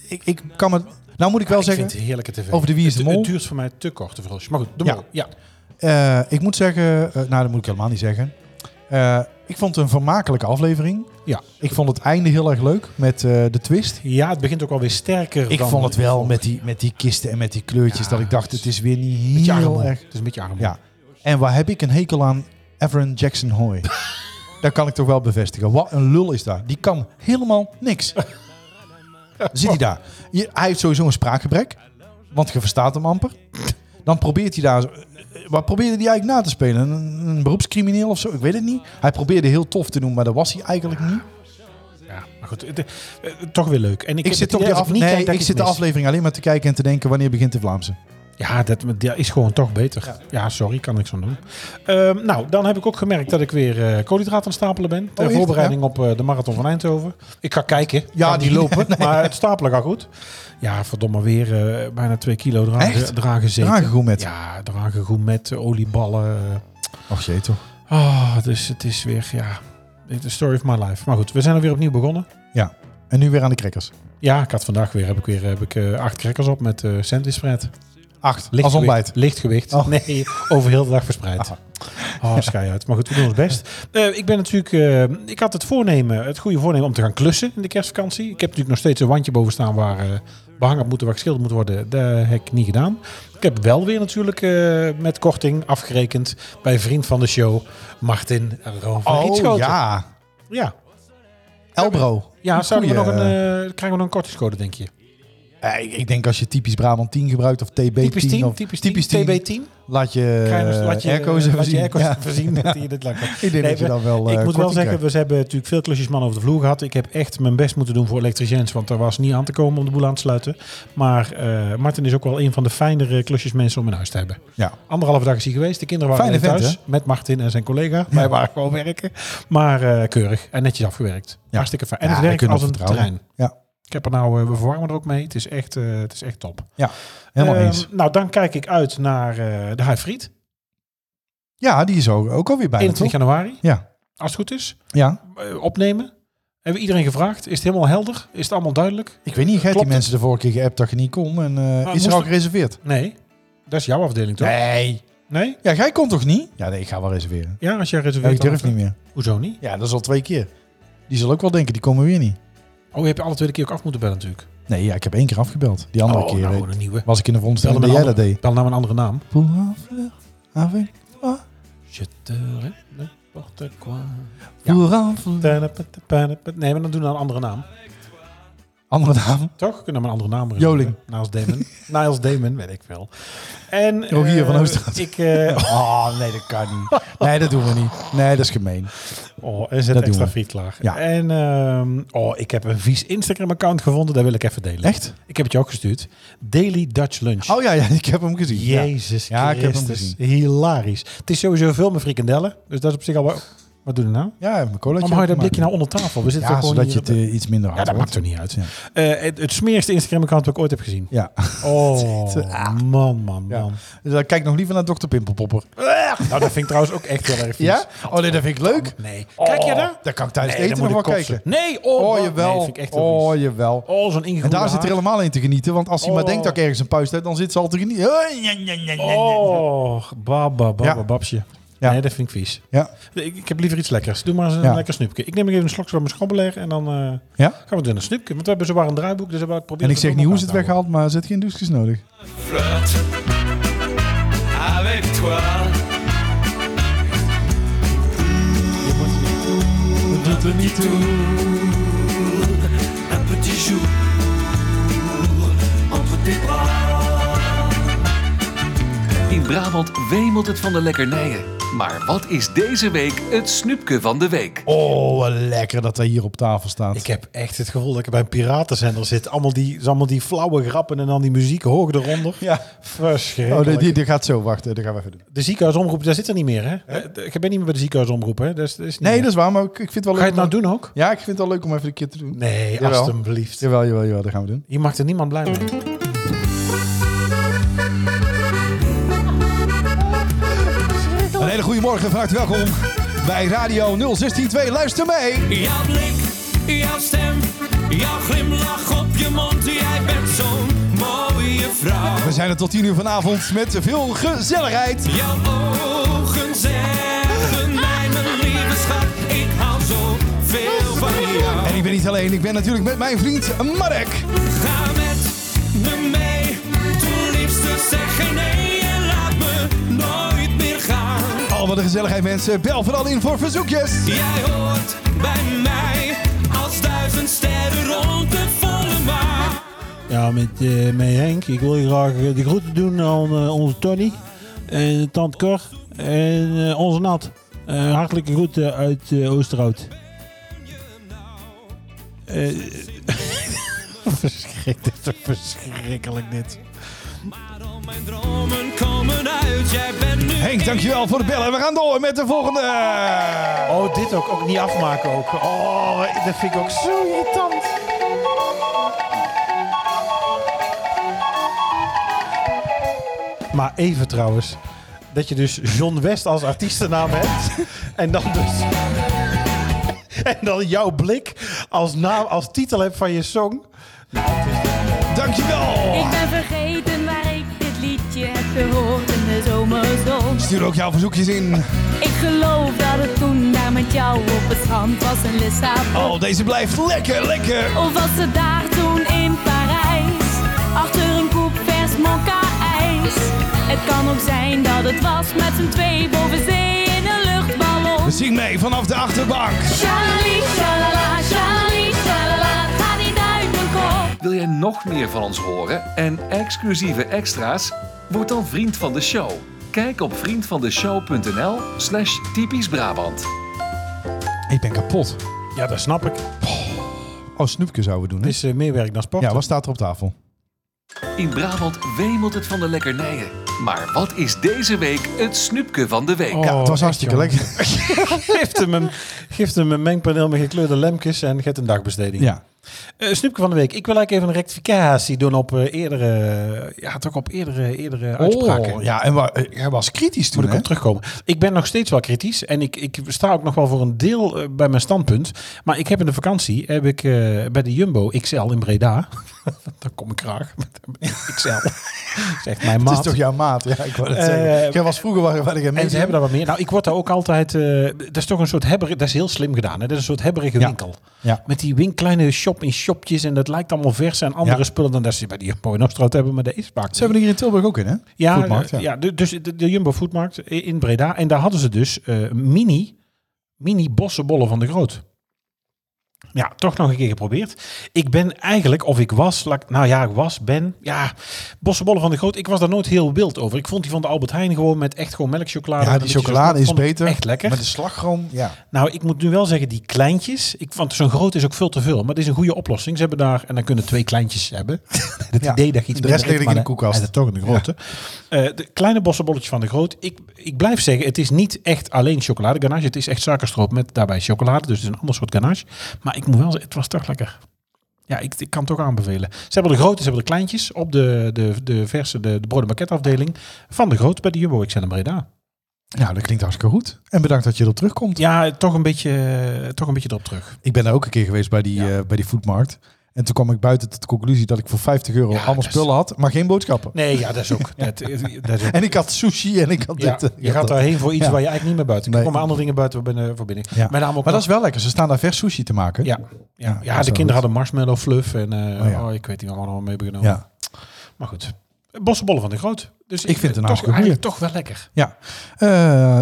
B: ik, ik kan me... Nou moet ik wel
C: Ik
B: zeggen,
C: vind het heerlijke tv.
B: over de Wie is de
C: Het-
B: Mol.
C: Het duurt voor mij te kort, de verhulsje. Maar goed, doe
B: Ja.
C: maar. Ja.
B: Eh, ik moet zeggen, eh, nou dat moet ik helemaal niet zeggen. Eh, ik vond het een vermakelijke aflevering.
C: Ja.
B: Ik vond het einde heel erg leuk met eh, de twist.
C: ja, het begint ook alweer sterker
B: Ik
C: dan...
B: vond het wel met die, met die kisten en met die kleurtjes
C: Ja,
B: dat ik dacht, het is weer niet
C: Beetje
B: heel
C: armoe.
B: erg.
C: Het is een beetje armoe.
B: Ja. En waar heb ik een hekel aan? Everon Jackson Hoy. dat kan ik toch wel bevestigen. Wat een lul is daar. Die kan helemaal niks. Dan Zit hij daar. Je- hij heeft sowieso een spraakgebrek. Want je verstaat hem amper. Dan probeert hij daar... zo- Wat probeerde hij eigenlijk na te spelen? Een, een beroepscrimineel of zo? Ik weet het niet. Hij probeerde heel tof te doen, maar dat was hij eigenlijk niet.
C: Ja, maar goed, het- eh, eh, toch weer leuk. En ik,
B: Ik,
C: heb
B: zit,
C: het
B: toch
C: idee
B: de,
C: dat
B: af...
C: niet
B: nee,
C: kijk
B: ik
C: dat
B: zit
C: het
B: de
C: mis.
B: aflevering alleen maar te kijken en te denken... wanneer begint de Vlaamse?
C: Ja, dat, dat is gewoon toch beter. Ja, sorry, kan niks aan doen. Ehm, nou, dan heb ik ook gemerkt dat ik weer eh, koolhydraten aan het stapelen ben. Ter
B: echt?
C: voorbereiding op eh, de marathon van Eindhoven. Ik ga kijken.
B: Oh, Ja,
C: Kan
B: die-
C: niet lopen. Maar het stapelen gaat goed. Ja, verdomme weer eh, bijna twee kilo eraan,
B: Echt?
C: eraan gezeten.
B: Eraan gegoemerd?
C: Ja, eraan gegoemerd, eh, olieballen.
B: Och jee toch.
C: Ah, dus het is weer, ja, the story of my life. Maar goed, we zijn er weer opnieuw begonnen.
B: En nu weer aan de crackers.
C: Ja, ik had vandaag weer, heb ik weer heb ik, eh, acht crackers op met eh sandwich spread.
B: Acht. Als
C: Lichtgewicht.
B: ontbijt.
C: Lichtgewicht.
B: Oh.
C: Nee, over heel de dag verspreid. Oh, schei uit. Maar goed, we doen ons best. Eh, ik ben natuurlijk... eh, ik had het voornemen, het goede voornemen om te gaan klussen in de kerstvakantie. Ik heb natuurlijk nog steeds een wandje boven staan waar eh behangen op moeten, waar geschilderd moet worden. Dat heb ik niet gedaan. Ik heb wel weer natuurlijk eh, met korting afgerekend bij vriend van de show, Martin Roon van
B: Oh
C: Rietschoten.
B: ja.
C: Ja,
B: Elbro.
C: ja
B: Een
C: zouden we nog
B: goeie.
C: een, eh, krijgen we nog een kortingscode, denk je?
B: Eh, ik- ik denk als je typisch Brabant 10 gebruikt of TB10
C: Typisch 10,
B: of
C: typisch 10,
B: typisch 10,
C: TB10.
B: laat je,
C: Krijgen we- laat je
B: airco's even
C: laat je
B: zien.
C: airco's
B: Ja.
C: even zien dat hij dit lang kan.
B: Ik denk
C: Nee,
B: dat je
C: we-
B: dan wel eh,
C: ik moet wel
B: korting
C: zeggen,
B: krijgt.
C: we hebben natuurlijk veel klusjesmannen over de vloer gehad. Ik heb echt mijn best moeten doen voor elektriciëns, want daar was niet aan te komen om de boel aan te sluiten. Maar eh, Martin is ook wel een van de fijnere klusjesmensen om in huis te hebben.
B: Ja.
C: Anderhalve dag is hij geweest. De kinderen waren
B: Fijne
C: alleen
B: vent,
C: thuis met Martin en zijn collega. Wij waren gewoon werken. Maar eh, keurig en netjes afgewerkt. Hartstikke fijn. En
B: Ja,
C: het
B: daar
C: werkt
B: kunnen
C: als
B: we
C: een
B: op vertrouwen.
C: trein.
B: Ja.
C: Ik heb er nou, eh, we verwarmen er ook mee. Het is echt, eh, het is echt top.
B: Ja, helemaal
C: Ehm,
B: eens.
C: Nou, dan kijk ik uit naar eh, de High Fried.
B: Ja, die is ook, ook alweer bijna,
C: 21
B: toch?
C: januari,
B: Ja.
C: als het goed is.
B: ja,
C: Eh, opnemen. Hebben we iedereen gevraagd? Is het helemaal helder? Is het allemaal duidelijk?
B: ik weet niet, jij hebt die
C: Klopt. Ah,
B: mensen de vorige keer geappt dat je niet kon en eh, is
C: moest
B: er al
C: er-
B: gereserveerd?
C: Nee. Dat is jouw afdeling, toch?
B: Nee.
C: Nee?
B: Ja, jij kon toch niet? Ja, nee, ik ga wel reserveren.
C: Ja, als jij
B: Ja,
C: reserveert.
B: ik durf
C: dan-
B: niet meer.
C: Hoezo niet?
B: Ja, dat is al twee keer. Die zal ook wel denken, die komen weer niet.
C: Oh, je hebt alle tweede keer ook af moeten bellen natuurlijk.
B: Nee, ja, ik heb één keer afgebeld. Die andere
C: oh,
B: keer
C: nou,
B: eh,
C: een nieuwe.
B: was ik in de
C: Bel
B: veronderstelling
C: met
B: dat
C: een
B: jij
C: andere,
B: dat deed.
C: Bel nou een andere naam.
B: Poel, afle- afle-
C: Je te- n'importe quoi.
B: poel, afle-
C: Nee, maar dan doen we een andere naam.
B: Andere naam.
C: Toch? Kunnen we een andere naam bedenken?
B: Joling.
C: Niles Damon. Niles Damon, weet ik veel. En,
B: Rogier
C: eh,
B: van Oosterhout.
C: Ik, eh
B: Oh, nee, dat kan niet. Nee, dat doen we niet. Nee, dat is gemeen.
C: Oh, en zet
B: Dat doen
C: extra
B: we.
C: friet klaar.
B: Ja.
C: En ehm, oh, ik heb een vies Instagram-account gevonden. Daar wil ik even delen.
B: Echt?
C: Ik heb het je ook gestuurd. Daily Dutch Lunch.
B: Oh ja, ja ik heb hem gezien. Ja.
C: Jezus
B: Ja, ik heb hem
C: Christus.
B: gezien.
C: Hilarisch. Het is sowieso veel met frikandellen. Dus dat is op zich al wel... Wat doen we nou?
B: Ja, mijn cola.
C: Waarom hou je dat blikje nou onder tafel? We zitten
B: Ja,
C: toch gewoon
B: zodat je
C: hier
B: het
C: op de-
B: eh, iets minder hard
C: Ja, dat maakt
B: wordt.
C: toch niet uit.
B: Ja.
C: Eh, het, het smeerste Instagram-account dat ik ooit heb gezien.
B: Ja.
C: Oh, man, man, man.
B: Ja. Dus dan kijk ik nog liever naar Dr. Pimpelpopper.
C: Nou, dat vind ik trouwens ook echt heel erg vies.
B: Ja? Oh nee, dat vind ik leuk.
C: Nee. Kijk je daar?
B: Daar kan ik tijdens
C: Nee, dan
B: eten
C: moet
B: nog
C: ik
B: wel
C: kotsen.
B: kijken.
C: Nee, oh,
B: Oh,
C: man.
B: jewel.
C: Nee, vind ik echt heel vies.
B: oh, jawel.
C: Oh, zo'n
B: En
C: ingegroeide
B: daar zit
C: haar.
B: er helemaal in te genieten. Want als hij maar
C: Oh.
B: denkt dat ik ergens een puist heb, dan zit ze al te genieten. Oh, ja, ja, ja, ja.
C: Oh, bab, bab,
B: Ja.
C: babsje.
B: Ja.
C: Nee, dat vind ik vies.
B: Ja.
C: Ik, ik heb liever iets lekkers. Doe maar eens een
B: Ja.
C: lekker snoepje. Ik neem nog even een slokje van mijn schrobbeler en dan eh,
B: Ja?
C: gaan we het doen een snoepje. Want we hebben zowaar een draaiboek, dus we hebben het proberen.
B: En ik zeg niet hoe ze het weghaalt, maar er zit geen doekjes nodig.
A: flotte avec toi. Un petit tour, un petit jour entre tes bras.
D: In Brabant wemelt het van de lekkernijen. Maar wat is deze week het snoepje van de week?
B: Oh, wat lekker dat hij hier op tafel staat.
C: Ik heb echt het gevoel dat ik bij een piratenzender zit. Allemaal die, allemaal die flauwe grappen en dan die muziek hoog eronder.
B: Ja. Oh,
C: Verschrikkelijk.
B: die, die, die gaat zo. Wachten, dat gaan we even doen.
C: De ziekenhuisomroep, daar zit er niet meer, hè? Eh, Ik ben niet meer bij de ziekenhuisomroep, hè? Dat is, dat is niet
B: Nee,
C: meer.
B: dat is waar, maar ik, ik vind het wel
C: Ga je
B: leuk.
C: het nou
B: om-
C: doen ook?
B: Ja, ik vind het wel leuk om even een keer te doen.
C: Nee,
B: Jawel.
C: alstublieft.
B: Jawel, jawel, jawel, dat gaan we doen.
C: Je maakt er niemand blij mee.
E: Een hele goede morgen en van harte welkom bij Radio 0162. Luister mee.
A: Jouw blik, jouw stem, jouw glimlach op je mond. Jij bent zo'n mooie vrouw.
E: We zijn er tot 10 uur vanavond met veel gezelligheid.
A: Jouw ogen zeggen mij, mijn lieve schat, ik hou zo veel van jou.
E: En ik ben niet alleen, ik ben natuurlijk met mijn vriend Mark.
A: Ga met me mee, toen liefste zeggen nee en laat me nooit meer gaan.
E: Oh, wat een gezelligheid mensen. Bel vooral in voor verzoekjes.
A: Jij hoort bij mij als duizend sterren rond de volle maan.
C: Ja, met, eh met Henk. Ik wil je graag eh, de groeten doen aan eh, onze Tony, en Tant Cor en eh, onze Nat. Eh, hartelijke groeten uit eh, Oosterhout. Eh, Verschrik- dit is verschrikkelijk dit.
A: Maar al mijn dromen komen uit, jij bent nu.
E: Henk, dankjewel voor het bellen. We gaan door met de volgende.
C: Oh, dit ook, ook niet afmaken ook. Oh, dat vind ik ook zo irritant. Maar even trouwens, dat je dus John West als artiestennaam hebt en dan dus en dan jouw blik als naam als titel hebt van je song.
E: Dankjewel.
G: Ik ben vergeten waar ik dit liedje heb gehoord in de zomerzon.
E: Stuur ook jouw verzoekjes in.
G: Ik geloof dat het toen daar met jou op het strand was in Lissabon.
E: Oh, deze blijft lekker, lekker.
G: Of was het daar toen in Parijs? Achter een koep vers mokka-ijs. Het kan ook zijn dat het was met z'n twee boven zee in een luchtballon.
E: Zing mee vanaf de achterbank.
G: Shalali, shalala, shalali, shalala. Ga niet uit mijn kop.
D: Wil jij nog meer van ons horen en exclusieve extra's? Word dan vriend van de show. Kijk op vriendvandeshow.nl slash typisch Brabant.
B: Ik ben kapot.
C: Ja, dat snap ik.
B: Oh, snoepje zouden we doen, hè?
C: Is eh, meer werk dan sport.
B: Ja, wat staat er op tafel?
D: In Brabant wemelt het van de lekkernijen. Maar wat is deze week het snoepje van de week?
C: Oh,
B: ja, het was hartstikke lekker.
C: Geeft hem een, geeft hem een mengpaneel met gekleurde lampjes en geeft een dagbesteding.
B: Ja.
C: Eh Snoepje van de week. Ik wil eigenlijk even een rectificatie doen op eh, eerdere, ja, toch op eerdere, eerdere uitspraken.
B: Oh, ja, en wa- eh, hij was kritisch toen,
C: Moet ik
B: hè?
C: op terugkomen. Ik ben nog steeds wel kritisch en ik, ik sta ook nog wel voor een deel eh, bij mijn standpunt. Maar ik heb in de vakantie heb ik, eh, bij de Jumbo XL in Breda. Daar kom ik graag. XL. Zegt mijn
B: Het
C: maat.
B: is toch jouw maat? Ja, ik wou het zeggen.
C: Eh,
B: Jij was vroeger waar, waar ik
C: En ze hebben daar wat meer. Nou, ik word daar ook altijd. eh, dat is toch een soort hebberig. Dat is heel slim gedaan. Hè? Dat is een soort hebberige
B: Ja.
C: winkel.
B: Ja.
C: Met die win kleine shop in shopjes. En dat lijkt allemaal vers en andere
B: Ja.
C: spullen dan dat ze bij die Jumbo in Oosterhout hebben. Maar dat is vaak.
B: Ze hebben er hier in Tilburg ook in, hè?
C: ja,
B: Voetmarkt,
C: ja. de- dus de, de Jumbo Foodmarkt i- in Breda. En daar hadden ze dus eh, mini, mini bossenbollen van de Groot. Ja, toch nog een keer geprobeerd. Ik ben eigenlijk, of ik was, laat ik- nou ja, ik was, ben, ja, bossenbollen van de Groot. Ik was daar nooit heel wild over. Ik vond die van de Albert Heijn gewoon met echt gewoon melkchocolade.
B: Ja,
C: en
B: die
C: een beetje
B: chocolade
C: zo-
B: is
C: vond ik
B: beter.
C: Echt lekker.
B: Met de slagroom, ja.
C: Nou, ik moet nu wel zeggen, die kleintjes. Ik, want zo'n groot is ook veel te veel. Maar het is een goede oplossing. Ze hebben daar, en dan kunnen twee kleintjes hebben. het
B: Ja,
C: idee dat je iets
B: de rest
C: minder eet,
B: ligt
C: maar
B: in de
C: dan
B: koelkast.
C: is het toch in de grote. Eh, de kleine bossenbolletje van de groot. Ik, ik blijf zeggen, het is niet echt alleen chocolade ganache. Het is echt suikerstroop met daarbij chocolade. Dus het is een ander soort ganache. Maar ik moet wel zeggen, het was toch lekker. Ja, ik, ik kan het ook aanbevelen. Ze hebben de grote, ze hebben de kleintjes op de, de, de verse, de, de brood- en bakketafdeling van de groot bij de Jumbo XL in Breda.
B: Nou, dat klinkt hartstikke goed. En bedankt dat je erop terugkomt.
C: Ja, toch een beetje, toch een beetje erop terug.
B: Ik ben daar ook een keer geweest bij die, eh, bij die foodmarkt. En toen kwam ik buiten tot de conclusie dat ik voor 50 euro allemaal
C: dat is-
B: spullen had, maar geen boodschappen.
C: dus- Nee, ja, dat is ook. Dat, eh, dat is ook.
B: En ik had sushi en ik had
C: Ja,
B: dit. eh, ik
C: je
B: had
C: gaat
B: dat.
C: daarheen voor iets
B: Ja.
C: waar je eigenlijk niet meer buiten kan.
B: Nee.
C: Er komen andere dingen buiten waar binnen- voor binnen.
B: Ja.
C: Met name ook
B: Maar dat is wel lekker. Ze staan daar vers sushi te maken.
C: Ja,
B: Ja,
C: ja, ja
B: dat is
C: de
B: wel
C: kinderen
B: goed.
C: hadden marshmallow fluff en eh,
B: Oh ja.
C: oh, ik weet niet wat we allemaal mee hebben genomen.
B: Ja.
C: Maar goed, bossenbollen van de groot. Dus
B: Ik vind het een
C: toch,
B: hartstikke
C: eigenlijk toch wel lekker.
B: Ja. Eh,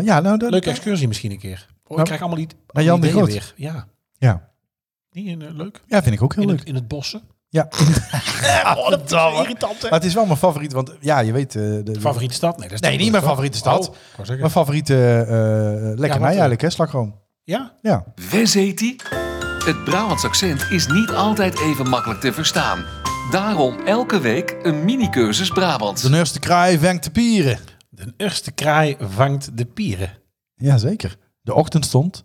B: ja, nou, dat,
C: Leuke excursie misschien een keer. Oh, ik
B: Nou,
C: krijg allemaal niet
B: bij Jan de
C: ideeën
B: Groot.
C: weer. Ja,
B: Ja.
C: die in, eh, leuk.
B: ja, vind ik ook heel
C: In
B: leuk.
C: het, in het bossen.
B: Ja.
C: Oh, dat is irritant, hè?
B: Maar het is wel mijn favoriet, want ja, je weet... eh, de, de-
C: Favoriete stad? Nee, dat is
B: Nee, niet mijn favoriete stad.
C: Oh, ik wou zeggen.
B: Mijn favoriete eh lekkernij
C: want, eh,
B: eigenlijk, hè, slagroom.
C: ja?
B: Ja.
D: Wes heet die? Het Brabants accent is niet altijd even makkelijk te verstaan. Daarom elke week een mini-cursus Brabants.
B: De nurse de kraai wenkt de pieren.
C: De eerste kraai vangt de pieren.
B: Jazeker. De ochtend stond.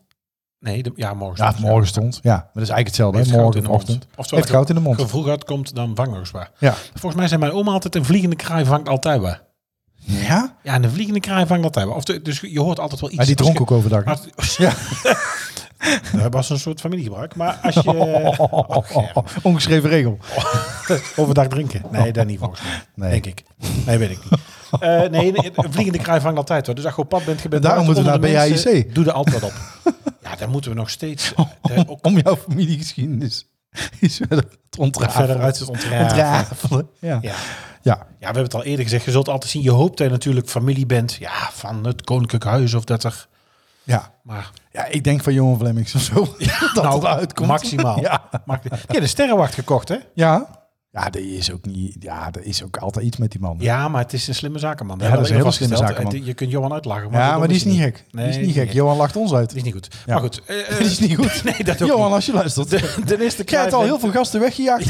C: Nee, de, ja, morgen.
B: Ja, of morgen stond. Ja, maar dat is eigenlijk hetzelfde.
C: Heeft
B: hè,
C: goud
B: Morgen
C: in
B: of
C: de mond.
B: ochtend.
C: Oftewel,
B: Heeft goud in de
C: Als
B: mond.
C: er vroeg uitkomt, dan vangen we zwaar.
B: Ja.
C: Volgens mij zei mijn oma altijd, een vliegende kraai vangt altijd waar.
B: Ja?
C: Ja, en een vliegende kraai vangt altijd wel. Of de- dus je hoort altijd wel iets.
B: Maar die
C: Als
B: dronk ook overdag. hè?
C: je- als- dat was een soort familiegebruik. Maar als je... Oh, Gerben.
B: Ongeschreven regel.
C: Overdag drinken. Nee, dat niet volgens mij.
B: Nee.
C: Denk ik. Nee, weet ik niet. Eh, nee, nee, een vliegende kraai vangt altijd wel. Dus als je op pad bent, je bent
B: Daarom
C: buiten
B: moeten we
C: onder
B: naar
C: de mensen,
B: BAIC.
C: Doe er altijd wat op. Ja, daar moeten we nog steeds... eh, daar ook
B: Om jouw familiegeschiedenis iets verder te ontrafelen.
C: verder uit het ontrafelen.
B: Ontrafelen. Ja.
C: Ja.
B: Ja.
C: Ja, we hebben het al eerder gezegd. Je zult altijd zien, je hoopt dat je natuurlijk familie bent. Ja, van het koninklijk huis of dat er...
B: ja.
C: Maar
B: Ja, ik denk van Johan Flemmings of zo. dat
C: nou,
B: het uitkomt.
C: maximaal.
B: Ja.
C: Max- Ja, de sterrenwacht gekocht, hè?
B: Ja. Ja, dat is ook niet. Ja, er is ook altijd iets met die man.
C: Ja, maar het is een slimme zakenman.
B: Ja, dat is een
C: hebben we
B: hele slimme
C: vastgesteld.
B: zakenman.
C: Eh, Je kunt Johan uitlachen.
B: Ja,
C: dat
B: maar die is
C: moet
B: niet
C: je
B: gek. die is
C: Nee,
B: niet gek. Johan lacht ons uit.
C: Die is niet goed.
B: Ja.
C: Maar goed. eh, eh,
B: Die is niet goed.
C: Nee, dat ook
B: Johan,
C: niet.
B: als je luistert.
C: De, de is de
B: Ik krijg al heel veel gasten weggejaagd.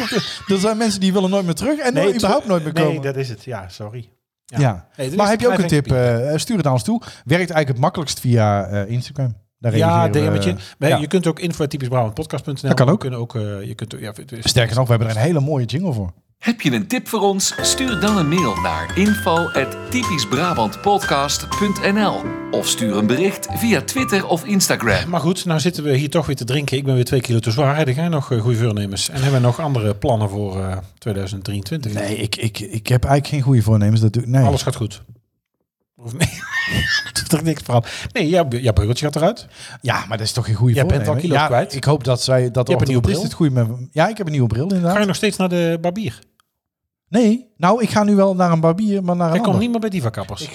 B: Er zijn mensen die willen nooit meer terug en nooit- überhaupt nooit meer komen.
C: Nee, dat is het. Ja, sorry.
B: ja.
C: Nee, er
B: maar
C: is
B: heb je ook een
C: klein
B: tip? eh, stuur het naar ons toe. Werkt eigenlijk het makkelijkst via eh, Instagram. Daar
C: Ja,
B: reageren we,
C: DM'tje.
B: eh,
C: Maar
B: ja.
C: Je kunt ook info.typischbrabantpodcast.nl.
B: Dat kan ook.
C: We kunnen ook eh, je kunt, ook- ja, het is-
B: Sterker nog, we hebben er een hele mooie jingle voor.
D: Heb je een tip voor ons? Stuur dan een mail naar info@typischbrabantpodcast.nl of stuur een bericht via Twitter of Instagram.
C: Maar goed, nou zitten we hier toch weer te drinken. Ik ben weer twee kilo te zwaar. Hè? Er gaan nog eh, goede voornemens. En hebben we nog andere plannen voor eh, 2023?
B: Nee, ik, ik, ik heb eigenlijk geen goede voornemens. Dat doe ik. Nee.
C: Alles gaat goed. Of nee. Het is toch niks veranderd. Nee, jouw, jouw beugeltje gaat eruit.
B: Ja, maar dat is toch geen goede
C: Jij bent al
B: voornemen?
C: kilo's
B: ja,
C: kwijt.
B: Ik hoop dat zij dat
C: Je hebt een nieuwe
B: orthodontist
C: bril.
B: het goede met- Ja, ik heb een nieuwe bril
C: Ga je
B: inderdaad.
C: nog steeds naar de barbier?
B: Nee, nou, ik ga nu wel naar een barbier, maar naar een
C: Hij komt
B: ander.
C: niet meer bij die kappers.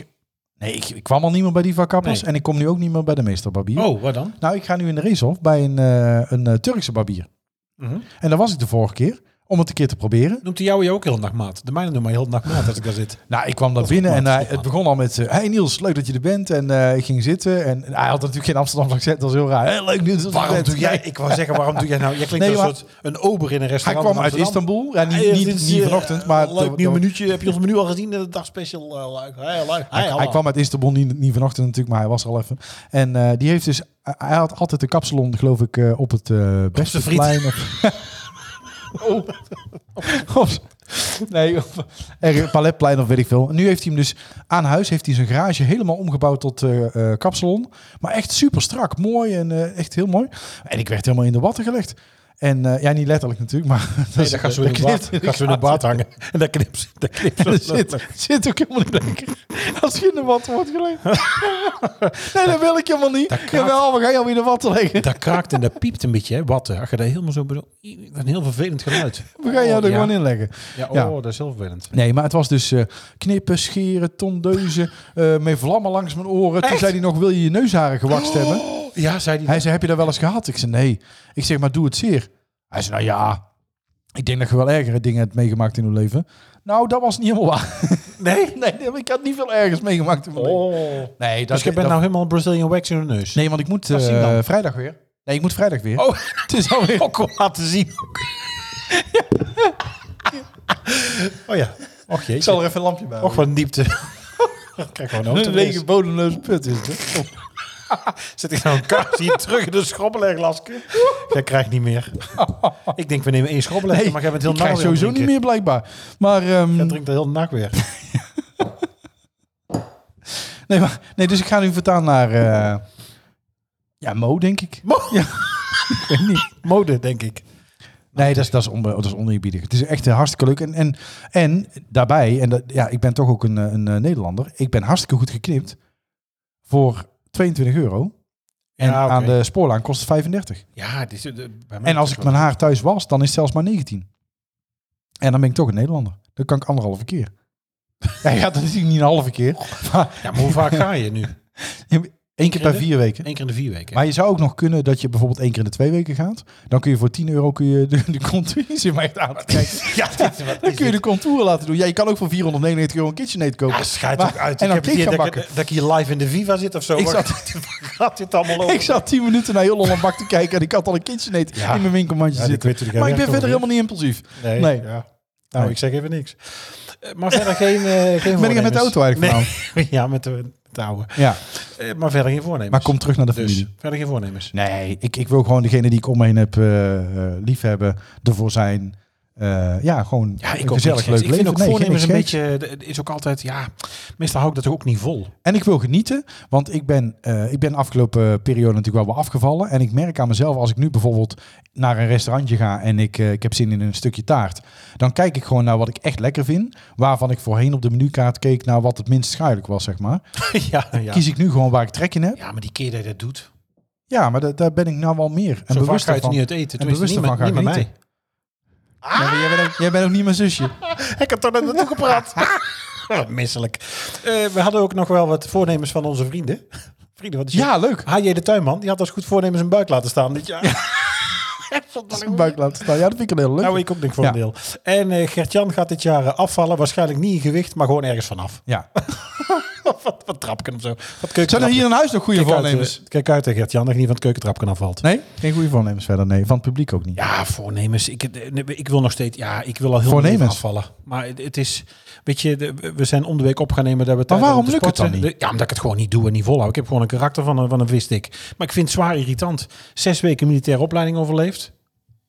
B: Nee, ik, ik kwam al niet meer bij die vakkappers
C: Nee.
B: en ik kom nu ook niet meer bij de meester barbier.
C: Oh, wat dan?
B: Nou, ik ga nu in de racehof bij een, eh, een eh, Turkse barbier.
C: Mhm.
B: En daar was ik de vorige keer om het een keer te proberen.
C: Noemt hij jou ook heel nachtmaat? De mijne noemt mij heel nachtmaat als ik daar zit.
B: Nou, ik kwam daar
C: is
B: binnen
C: goed,
B: en
C: man,
B: hij-
C: dat is
B: het
C: goed,
B: begon al met... eh, hey Niels, leuk dat je er bent. En eh, ik ging zitten en hij had natuurlijk geen Amsterdamse accent. Dat was heel raar. Hey, leuk Niels. dat je er
C: Waarom
B: bent.
C: doe jij?
B: Nee,
C: Ik wou zeggen, waarom doe jij nou? Jij klinkt
B: Nee,
C: als
B: maar-
C: een soort een ober in een
B: Hij
C: restaurant.
B: kwam uit
C: in Amsterdam.
B: Istanbul. Ja, niet,
C: Hey,
B: niet,
C: dit is,
B: niet
C: eh,
B: vanochtend, maar...
C: Leuk nieuw
B: dat-
C: minuutje. Heb je ons menu al gezien? De dagspecial. eh, leuk. Hey, leuk. Hey,
B: Hij, hij
C: hallo.
B: kwam uit Istanbul, niet, niet vanochtend natuurlijk, maar hij was er al even. En eh, die heeft dus... Hij had altijd de kapsalon, geloof ik, eh, op het eh beste
C: friet. Oh.
B: plein. Of, Op- nee, op, er, paletplein of weet ik veel. En nu heeft hij hem dus aan huis, heeft hij zijn garage helemaal omgebouwd tot eh eh kapsalon. Maar echt super strak, mooi en eh, echt heel mooi. En ik werd helemaal in de watten gelegd. En eh, ja, niet letterlijk natuurlijk, maar...
C: Nee, dan gaan ze weer in de
B: knipt
C: baard-
B: in de
C: gaan ze weer in de baard hangen. En dat knipt ze- dat knipt ze.
B: dat zit, zit ook helemaal niet lekker. Als je in de wat wordt gelegd. nee, dat wil ik helemaal niet. Jawel, we gaan jou in de wat leggen.
C: Dat kraakt en dat piept een beetje, hè, watten. Als je dat helemaal zo bedoelt, een heel vervelend geluid. Oh,
B: We gaan jou er
C: ja.
B: gewoon in leggen.
C: Ja, oh,
B: Ja.
C: dat is heel vervelend.
B: Nee, maar het was dus eh, knippen, scheren, tondeuzen, eh met vlammen langs mijn oren. Toen
C: Echt?
B: zei hij nog, wil je je neusharen gewakst hebben?
C: Ja, zei die.
B: Hij zei, heb je dat wel eens gehad? Ik zei, nee. Ik zeg, maar doe het zeer. Hij zei, nou ja, ik denk dat je wel ergere dingen hebt meegemaakt in uw leven. Nou, dat was niet helemaal waar.
C: Nee?
B: Nee, ik had niet veel ergers meegemaakt in mijn leven. Oh. Nee, dat,
C: dus je bent
B: dat-
C: nou helemaal Brazilian wax in de neus.
B: Nee, want ik moet
C: Waar zie je
B: eh,
C: dan?
B: vrijdag weer. Nee, ik moet vrijdag weer.
C: Oh,
B: het is alweer.
C: ook om laten zien. oh ja. Och jee.
B: Ik zal er even een lampje bij.
C: Och,
B: houden.
C: wat een diepte. Kijk gewoon een
B: een lege bodemloze put is het. hè?
C: Zet ik nou een kaart hier terug in de schrobbeleglasken? Jij krijgt niet meer. Ik denk, we nemen één schrobbelegje, maar jij bent heel
B: ik krijg
C: nauw
B: sowieso niet meer blijkbaar. Maar, ehm,
C: Jij drinkt de hele nacht weer.
B: nee, maar nee, dus ik ga nu vertaan naar eh, ja, Mo, denk ik.
C: Mode, denk ik.
B: Nee, dat is, dat, is onbe- dat is oneerbiedig. Het is echt eh, hartstikke leuk. En, en, en daarbij, en dat, ja, ik ben toch ook een, eh, een eh, Nederlander. Ik ben hartstikke goed geknipt voor 22 euro. En
C: Ja, oké.
B: aan de spoorlijn kost het 35.
C: Ja, dit is, eh, bij mij
B: En als ik mijn haar thuis was, dan is het zelfs maar 19. En dan ben ik toch een Nederlander. Dan kan ik anderhalve keer. ja, ja, dat is niet een halve keer. Maar
C: Ja, maar hoe vaak ga je nu?
B: één keer per vier weken.
C: Eén keer in de vier weken.
B: Maar je zou ook nog kunnen dat je bijvoorbeeld één keer in de twee weken gaat. Dan kun je voor 10 euro kun je de, de contour... Je zit maar echt aan te kijken.
C: ja, dit, wat
B: Dan
C: is
B: kun je
C: dit?
B: de contouren laten doen. Ja, je kan ook voor 499 euro een KitchenAid kopen.
C: Ja, schijt
B: Maar-
C: ook uit.
B: En
C: Ik
B: dan
C: heb het
B: cake
C: idee
B: gaan
C: dat ik,
B: bakken.
C: dat ik hier live in de Viva zit of zo.
B: Ik
C: Waar
B: zat-
C: gaat- waar gaat dit allemaal over?
B: Ik zat 10 minuten naar heel Holland Bak te kijken en ik had al een KitchenAid
C: Ja.
B: in mijn winkelmandje
C: Ja, die
B: zitten.
C: weet natuurlijk
B: Maar ik
C: heel
B: ben
C: erg
B: verder
C: over,
B: helemaal niet impulsief.
C: Nee.
B: Nee.
C: Ja. Nou,
B: Nee.
C: ik zeg even niks. Eh, Maar verder geen, eh geen
B: Ben ik met de
C: voornemens.
B: auto eigenlijk
C: Nee. ja, met de, met de oude.
B: Ja,
C: Eh, maar verder geen voornemens.
B: maar kom terug naar de familie.
C: dus, verder geen voornemens.
B: Nee, ik, ik wil gewoon degene die ik om me heen heb eh, eh, liefhebben, ervoor zijn. Eh, ja, gewoon
C: Ja, ik
B: een
C: ook
B: gezellig
C: niks geks. Ik
B: leuk leven.
C: vind ook
B: Nee, geen
C: voornemens een
B: niks geks.
C: beetje... Het is ook altijd... Ja, meestal hou ik dat ook niet vol.
B: En ik wil genieten, want ik ben, eh, ik ben de afgelopen periode natuurlijk wel wat afgevallen. En ik merk aan mezelf, als ik nu bijvoorbeeld naar een restaurantje ga en ik, eh, ik heb zin in een stukje taart. Dan kijk ik gewoon naar wat ik echt lekker vind. Waarvan ik voorheen op de menukaart keek naar wat het minst schuilijk was, zeg maar.
C: ja, ja.
B: Kies ik nu gewoon waar ik trek in heb.
C: ja, maar die keer dat je dat doet...
B: Ja, maar da- daar ben ik nou wel meer. En
C: zo vaak
B: bewust
C: ga je het
B: van.
C: niet uit eten.
B: En
C: Tenminste,
B: bewust
C: niet,
B: ervan
C: met-
B: ga ik
C: niet met
B: genieten.
C: mij.
B: jij, bent ook, jij bent ook niet mijn zusje.
C: Ik heb toch net naartoe gepraat. Wat misselijk. Eh, we hadden ook nog wel wat voornemens van onze vrienden. Vrienden, wat is
B: Ja, leuk.
C: H.J. de Tuinman, die had als goed voornemen zijn buik laten staan dit jaar.
B: Zijn buik laten staan. Ja, dat vind ik een heel leuk.
C: Nou, ik ook denk voor een
B: Ja.
C: deel. En eh Gert-Jan gaat dit jaar eh, afvallen. Waarschijnlijk niet in gewicht, maar gewoon ergens vanaf.
B: Ja.
C: wat, wat trapken of zo. Wat keuken
B: Zijn er hier in huis nog goede
C: kijk uit,
B: voornemens?
C: eh, kijk uit, eh, Gert-Jan, dat je niet van het keukentrapken afvalt.
B: Nee, geen goede voornemens verder. Nee, van het publiek ook niet.
C: Ja, voornemens. Ik, eh, nee, ik wil nog steeds. Ja, ik wil al heel
B: Voornemens.
C: mijn leven afvallen. Maar het, het is. Weet je, de- we zijn om de week op gaan nemen. Dat we
B: Maar
C: tijd
B: waarom
C: hadden om te
B: lukt het
C: sporten.
B: dan
C: De- Ja, omdat ik het gewoon niet doe en niet volhoud. Ik heb gewoon een karakter van een, van een visstick. Maar ik vind het zwaar irritant. Zes weken militaire opleiding overleefd.